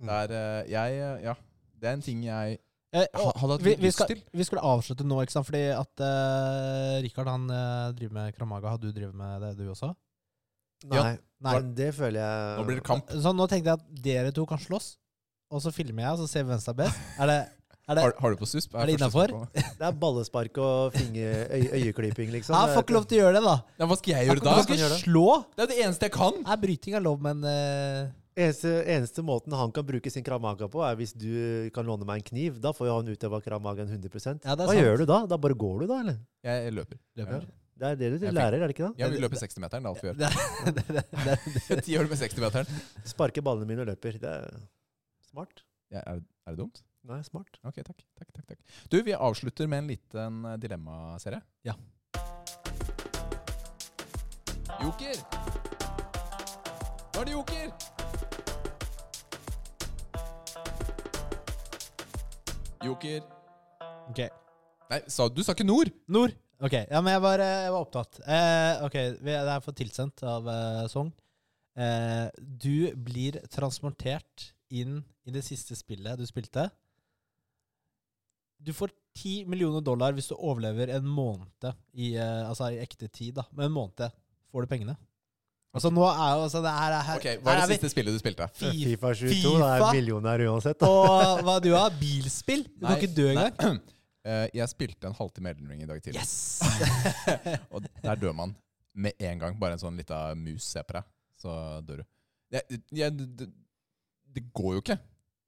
Speaker 3: Mm.
Speaker 2: Det er eh, jeg, eh, ja, det er en ting jeg
Speaker 1: Eh,
Speaker 2: ha- hadde hatt
Speaker 1: vi,
Speaker 2: litt
Speaker 1: vi,
Speaker 2: lyst
Speaker 1: skal,
Speaker 2: til.
Speaker 1: vi skulle avslutte nå, ikke sant? Fordi at eh, Rikard han eh, driver med kramaga. Har du drevet med det, du også?
Speaker 2: Ja.
Speaker 3: Nei,
Speaker 1: Nei.
Speaker 3: men det føler jeg
Speaker 2: Nå blir det kamp.
Speaker 1: Så nå tenkte jeg at dere to kan slåss, og så filmer jeg, og så ser vi hvem som er best. Er det, er det
Speaker 2: Har, har du på
Speaker 1: er
Speaker 2: susp?
Speaker 1: det
Speaker 2: første
Speaker 1: innenfor?
Speaker 2: spørsmål.
Speaker 3: Det er ballespark og finger, øy, øyeklyping, liksom.
Speaker 2: Ah,
Speaker 1: Nei, jeg får
Speaker 3: Det-
Speaker 1: ikke lov til å gjøre det, da.
Speaker 2: Ja, hva skal jeg gjøre da?
Speaker 1: Du
Speaker 3: Hva
Speaker 1: skal
Speaker 3: kan gjøre
Speaker 1: ikke
Speaker 3: det?
Speaker 1: slå.
Speaker 2: Det er det eneste jeg kan!
Speaker 1: Nei, bryting er lov, men eh,
Speaker 3: Eneste, eneste måten han kan bruke sin kramaga på, er hvis du kan låne meg en kniv. Da får jo han utøva kramagaen 100
Speaker 1: Ja, det er
Speaker 3: Hva
Speaker 1: sant.
Speaker 3: gjør du da? Da bare går du, da? eller?
Speaker 2: Jeg, løper.
Speaker 1: løper.
Speaker 3: Det er det du
Speaker 2: Jeg
Speaker 3: lærer, er det ikke det?
Speaker 2: Ja, vi løper 60-meteren, det er alt vi gjør.
Speaker 1: Det, det, det, det, det.
Speaker 2: Ti år med 60-meteren.
Speaker 3: Sparker ballene mine og løper. Det er smart.
Speaker 2: Ja, er, er det dumt?
Speaker 3: Nei, smart.
Speaker 2: Ok, takk. takk, takk, takk. Du, vi avslutter med en liten eh, dilemmaserie.
Speaker 1: Ja.
Speaker 2: Joker! Nå er det joker! Joker.
Speaker 1: Ok.
Speaker 2: Nei, sa, du sa ikke nord!
Speaker 1: Nord. Ok, ja, men jeg var, jeg var opptatt. Eh, ok, vi- Det er for tilsendt av eh, Sogn. Eh, du blir transportert inn i det siste spillet du spilte. Du får 10 millioner dollar hvis du overlever en måned i, eh, altså i ekte tid. da. Men en måned får du pengene. Altså nå er jo altså, det her, er- her,
Speaker 2: Ok, Hva er
Speaker 1: her
Speaker 2: det siste spillet du spilte?
Speaker 1: vi FIFA
Speaker 3: Fifa 22 det er
Speaker 1: Fifa.
Speaker 3: millionær uansett. Da.
Speaker 1: og hva du har? Bilspill? Du kan
Speaker 2: Nei,
Speaker 1: ikke dø
Speaker 2: nei.
Speaker 1: engang.
Speaker 2: Eh, jeg spilte en halvtime Elden Ring i dag tidlig,
Speaker 1: Yes!
Speaker 2: og der dør man med en gang. Bare en sånn lita mus ser på deg, så dør du. Jeg, jeg, det, det går jo ikke.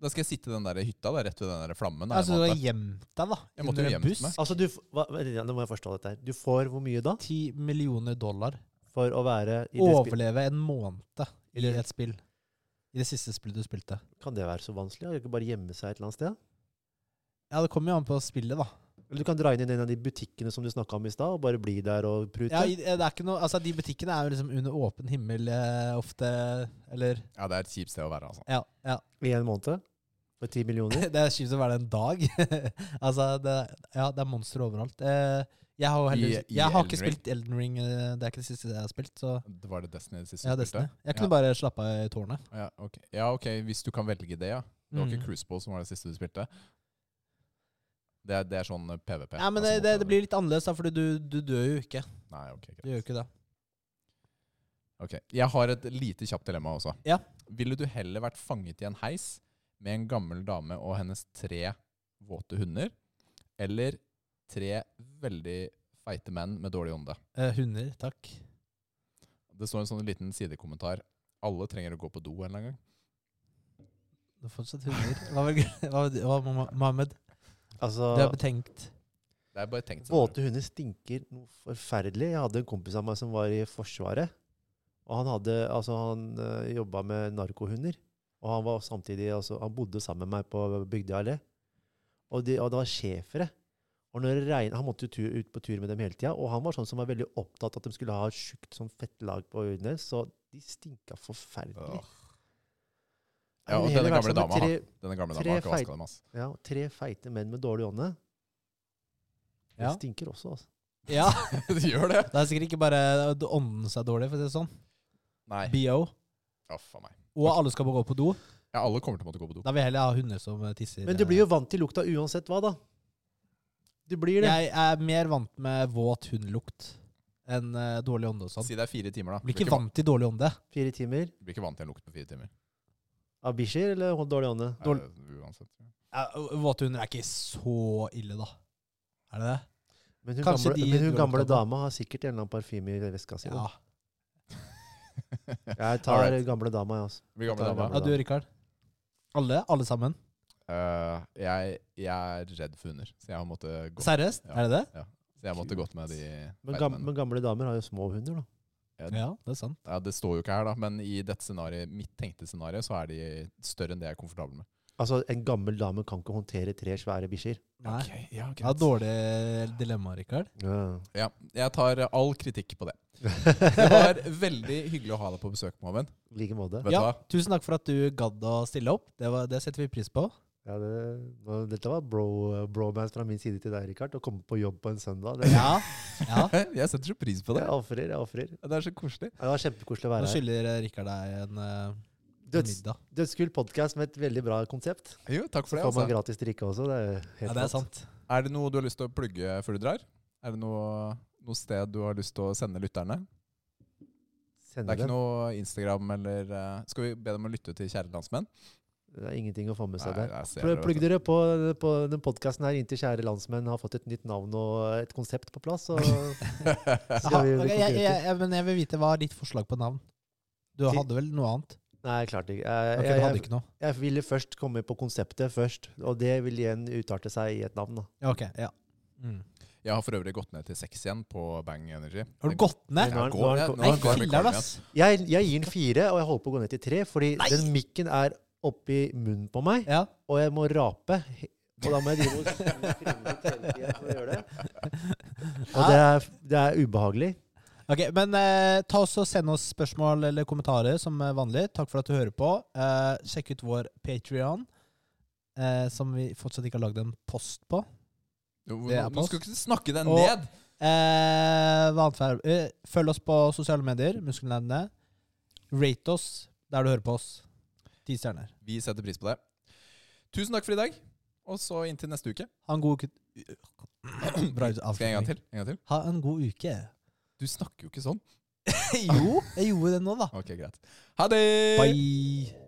Speaker 2: Da skal jeg sitte i den der hytta der, rett ved den der flammen. da, en
Speaker 1: altså, du har
Speaker 2: måned.
Speaker 1: gjemt deg, da.
Speaker 2: Jeg måtte
Speaker 1: under
Speaker 2: jo
Speaker 1: en
Speaker 2: gjemt
Speaker 1: busk.
Speaker 2: meg.
Speaker 3: Altså, du, f- hva, vent litt, ja, nå må jeg forstå dette her. Du får hvor mye da
Speaker 1: 10 millioner dollar.
Speaker 3: for å være i det spillet?
Speaker 1: Overleve en måned i
Speaker 3: I-
Speaker 1: et spill. I det siste spillet du spilte.
Speaker 3: Kan det være så vanskelig? Kan du ikke bare gjemme seg et eller annet sted?
Speaker 1: Ja, det kommer jo an på spillet, da.
Speaker 3: Eller du kan dra inn i en av de butikkene som du snakka om i stad, og bare bli der og prute?
Speaker 1: Ja, i- det er ikke noe, altså, de butikkene er jo liksom under åpen himmel eh, ofte, eller
Speaker 2: Ja, det er et kjipt sted å være, altså.
Speaker 1: Ja. ja.
Speaker 3: I en måned? For ti millioner?
Speaker 1: Det er kjipt å være det en dag. altså, det, ja, det er monstre overalt. Eh, jeg har jo heller
Speaker 2: I- i
Speaker 1: Jeg har ikke
Speaker 2: Elden Ring?
Speaker 1: spilt Elden Ring, eh, det er ikke det siste jeg har spilt, så
Speaker 2: Det var det Destiny det siste
Speaker 1: ja,
Speaker 2: du
Speaker 1: Destiny.
Speaker 2: spilte?
Speaker 1: Jeg kunne bare slappe av i tårnet.
Speaker 2: Ja, ok. ja, ok, hvis du kan velge det, ja. Det var
Speaker 1: Mm.
Speaker 2: ikke Cruiseball som var det siste du spilte? Det er, det er sånn eh, PVP.
Speaker 1: Ja, men det,
Speaker 2: altså
Speaker 1: det,
Speaker 2: mot
Speaker 1: det blir litt annerledes, da, for du, du dør jo ikke.
Speaker 2: hverandre. Nei, ok, greit.
Speaker 1: Du gjør jo ikke det.
Speaker 2: Ok, Jeg har et lite kjapt dilemma også.
Speaker 1: Ja.
Speaker 2: Ville du heller vært fanget i en heis med en gammel dame og hennes tre våte hunder, eller tre veldig feite menn med dårlig ånde?
Speaker 1: Eh, hunder, takk.
Speaker 2: Det står en sånn liten sidekommentar. Alle trenger å gå på do en eller annen gang.
Speaker 1: Det er fortsatt hunder. Hva var, hva var, hva var Mohammed?
Speaker 3: Altså,
Speaker 1: Du er betenkt.
Speaker 2: Det er bare tenkt sånn.
Speaker 3: Våte hunder stinker noe forferdelig. Jeg hadde en kompis av meg som var i Forsvaret. Og han hadde, altså han øh, jobba med narkohunder. Og han var samtidig, altså han bodde sammen med meg på Bygdøy allé. Og, de, og det var schæfere. Og når det regnet, Han måtte jo tur, ut på tur med dem hele tida, og han var sånn som var veldig opptatt at de skulle ha et tjukt sånn fettlag på hundene. Så de stinka forferdelig.
Speaker 2: Åh. Ja, og
Speaker 3: Jeg vil
Speaker 2: denne
Speaker 3: heller være
Speaker 2: gamle
Speaker 3: sammen med
Speaker 2: dama,
Speaker 3: tre,
Speaker 2: Denne gamle
Speaker 3: Tre
Speaker 2: dama har ikke
Speaker 3: feit-
Speaker 2: vaska dem, ass.
Speaker 3: ja, tre feite menn med dårlig ånde. Det
Speaker 1: Ja.
Speaker 3: stinker også, altså.
Speaker 1: ja.
Speaker 2: De gjør det.
Speaker 1: Det er sikkert ikke bare ånden seg dårlig, for å si det sånn.
Speaker 2: Nei.
Speaker 1: BO.
Speaker 2: Ja, faen meg.
Speaker 1: Og alle skal gå på do.
Speaker 2: Ja, alle kommer til å måtte gå på do.
Speaker 1: Da vil jeg heller ha hunder som eh, tisser.
Speaker 3: Men du blir jo vant til lukta uansett hva, da. Du blir det.
Speaker 1: Jeg er mer vant med våt hundlukt enn eh, dårlig ånde og sånn.
Speaker 2: Si det er fire timer, da.
Speaker 1: Blir ikke vant til dårlig ånde.
Speaker 3: Fire timer
Speaker 2: van- blir ikke vant til en lukt på fire timer.
Speaker 3: av bikkjer eller dårlig ånde?
Speaker 2: Nei,
Speaker 1: Dårlig-
Speaker 2: det- uansett.
Speaker 1: Ja, Våte hunder er ikke så ille, da. Er det det?
Speaker 3: Men hun,
Speaker 1: Kanskje
Speaker 3: gamle,
Speaker 1: de
Speaker 3: men hun
Speaker 1: dårlig
Speaker 3: gamle
Speaker 1: ånde.
Speaker 3: dama har sikkert en eller annen parfyme i veska si.
Speaker 1: Ja.
Speaker 3: da. Jeg tar
Speaker 2: Alright.
Speaker 3: gamle dama, jeg, altså.
Speaker 2: Blir gammel
Speaker 3: Ta
Speaker 2: dame.
Speaker 1: ja, du Rikard. Alle? Alle sammen?
Speaker 2: Eh, jeg, jeg er redd for hunder, så jeg har måttet gå,
Speaker 1: Seriøst?
Speaker 2: Ja.
Speaker 1: Er det det?
Speaker 2: så jeg måtte gått med de
Speaker 3: Men, gam,
Speaker 2: feitmennene.
Speaker 3: men gamle damer har jo små hunder, da.
Speaker 1: Ja, det er sant.
Speaker 2: ja, Det står jo ikke her, da, men i dette scenariet, mitt tenkte scenario så er de større enn det jeg er komfortabel med.
Speaker 3: Altså, en gammel dame kan ikke håndtere tre svære bikkjer.
Speaker 1: Nei.
Speaker 2: Ok,
Speaker 1: Det
Speaker 2: ja,
Speaker 1: er
Speaker 2: greit.
Speaker 1: et dårlig dilemma, Rikard.
Speaker 3: Ja.
Speaker 2: ja, jeg tar all kritikk på det. Det var veldig hyggelig å ha deg på besøk, Mohammed.
Speaker 3: I like måte.
Speaker 2: Vet du
Speaker 1: Ja.
Speaker 2: hva?
Speaker 1: Tusen takk for at du gadd å stille opp. Det, var, det setter vi pris på.
Speaker 3: Ja, det, nå- dette var bro, bromance fra min side til deg, Rikard. Å komme på jobb på en søndag. Det,
Speaker 1: Ja. ja.
Speaker 2: Eh, Jeg setter så pris på det.
Speaker 3: Jeg ofrer, jeg ofrer. Ja,
Speaker 2: Ja, Det er så koselig.
Speaker 3: Det var kjempekoselig å
Speaker 1: Nå
Speaker 3: være her.
Speaker 1: skylder eh, Rikard deg en eh,
Speaker 3: Døds,
Speaker 1: middag.
Speaker 3: dødskull podkast med et veldig bra konsept.
Speaker 2: Jo, takk for
Speaker 3: Så
Speaker 2: det.
Speaker 3: får man
Speaker 2: Altså.
Speaker 3: gratis drikke også. Det er helt
Speaker 1: Ja, det er
Speaker 3: rått.
Speaker 1: sant.
Speaker 2: Er det noe du har lyst til å plugge før du drar? Er det noe, noe sted du har lyst til å sende lytterne? Det
Speaker 3: Sender
Speaker 2: er ikke
Speaker 3: dem.
Speaker 2: noe Instagram eller eh, Skal vi be dem å lytte til Kjære landsmenn?
Speaker 3: Det er ingenting å få med seg
Speaker 2: Nei,
Speaker 3: der.
Speaker 2: jeg ser
Speaker 3: Pl-
Speaker 2: det, sånn.
Speaker 3: Plugg
Speaker 2: vet du.
Speaker 3: dere på, på den podkasten her inntil kjære landsmenn har fått et nytt navn og et konsept på plass. Og
Speaker 1: Aha,
Speaker 3: skal vi
Speaker 1: ok, jeg,
Speaker 3: bli
Speaker 1: jeg,
Speaker 3: konkurrenter.
Speaker 1: jeg, men jeg vil vite hva er ditt forslag på navn. Du
Speaker 3: Ti-
Speaker 1: hadde vel noe annet?
Speaker 3: Nei, klart ikke. Jeg,
Speaker 1: Ok,
Speaker 3: jeg,
Speaker 1: du hadde
Speaker 3: jeg,
Speaker 1: ikke noe.
Speaker 3: jeg ville først komme på konseptet først, og det vil igjen utarte seg i et navn. da.
Speaker 1: Ja, ok, ja. Mm.
Speaker 2: Jeg har for øvrig gått ned til seks igjen på Bang Energy.
Speaker 1: Har du gått ned?
Speaker 3: Nå
Speaker 2: Ja,
Speaker 3: er-
Speaker 2: går
Speaker 3: nå er-
Speaker 2: ned.
Speaker 3: nå
Speaker 2: Nå
Speaker 1: Nei,
Speaker 3: er-
Speaker 2: går vi
Speaker 1: filler'n,
Speaker 2: igjen.
Speaker 1: ass.
Speaker 3: Jeg, jeg gir den fire, og jeg holder på å gå ned til tre, fordi
Speaker 1: Nei!
Speaker 3: den mikken er oppi munnen på meg,
Speaker 1: Ja.
Speaker 3: og jeg må rape. Og da må jeg drive og skrive ut hele tiden for å gjøre det. Og det er, det er ubehagelig.
Speaker 1: Ok, men eh, ta oss og send oss spørsmål eller kommentarer som eh, vanlig. Takk for at du hører på. Eh, sjekk ut vår Patrion, eh, som vi fortsatt ikke har lagd en post på.
Speaker 2: Jo,
Speaker 1: Det er
Speaker 2: Nå nå skal du ikke snakke deg
Speaker 1: Og-
Speaker 2: ned!
Speaker 1: Eh, hva annet for- eh, følg oss på sosiale medier, Muskelnerdene. Rate oss der du hører på oss. Ti stjerner.
Speaker 2: Vi setter pris på det. Tusen takk for i dag, og så inntil neste uke.
Speaker 1: Ha en god uke Bra ut-
Speaker 2: Skal jeg en gang til? En gang til?
Speaker 1: Ha en god uke.
Speaker 2: Du snakker jo ikke sånn.
Speaker 1: jo, jeg gjorde det nå, da.
Speaker 2: Ok, greit. Ha det!
Speaker 1: Bye.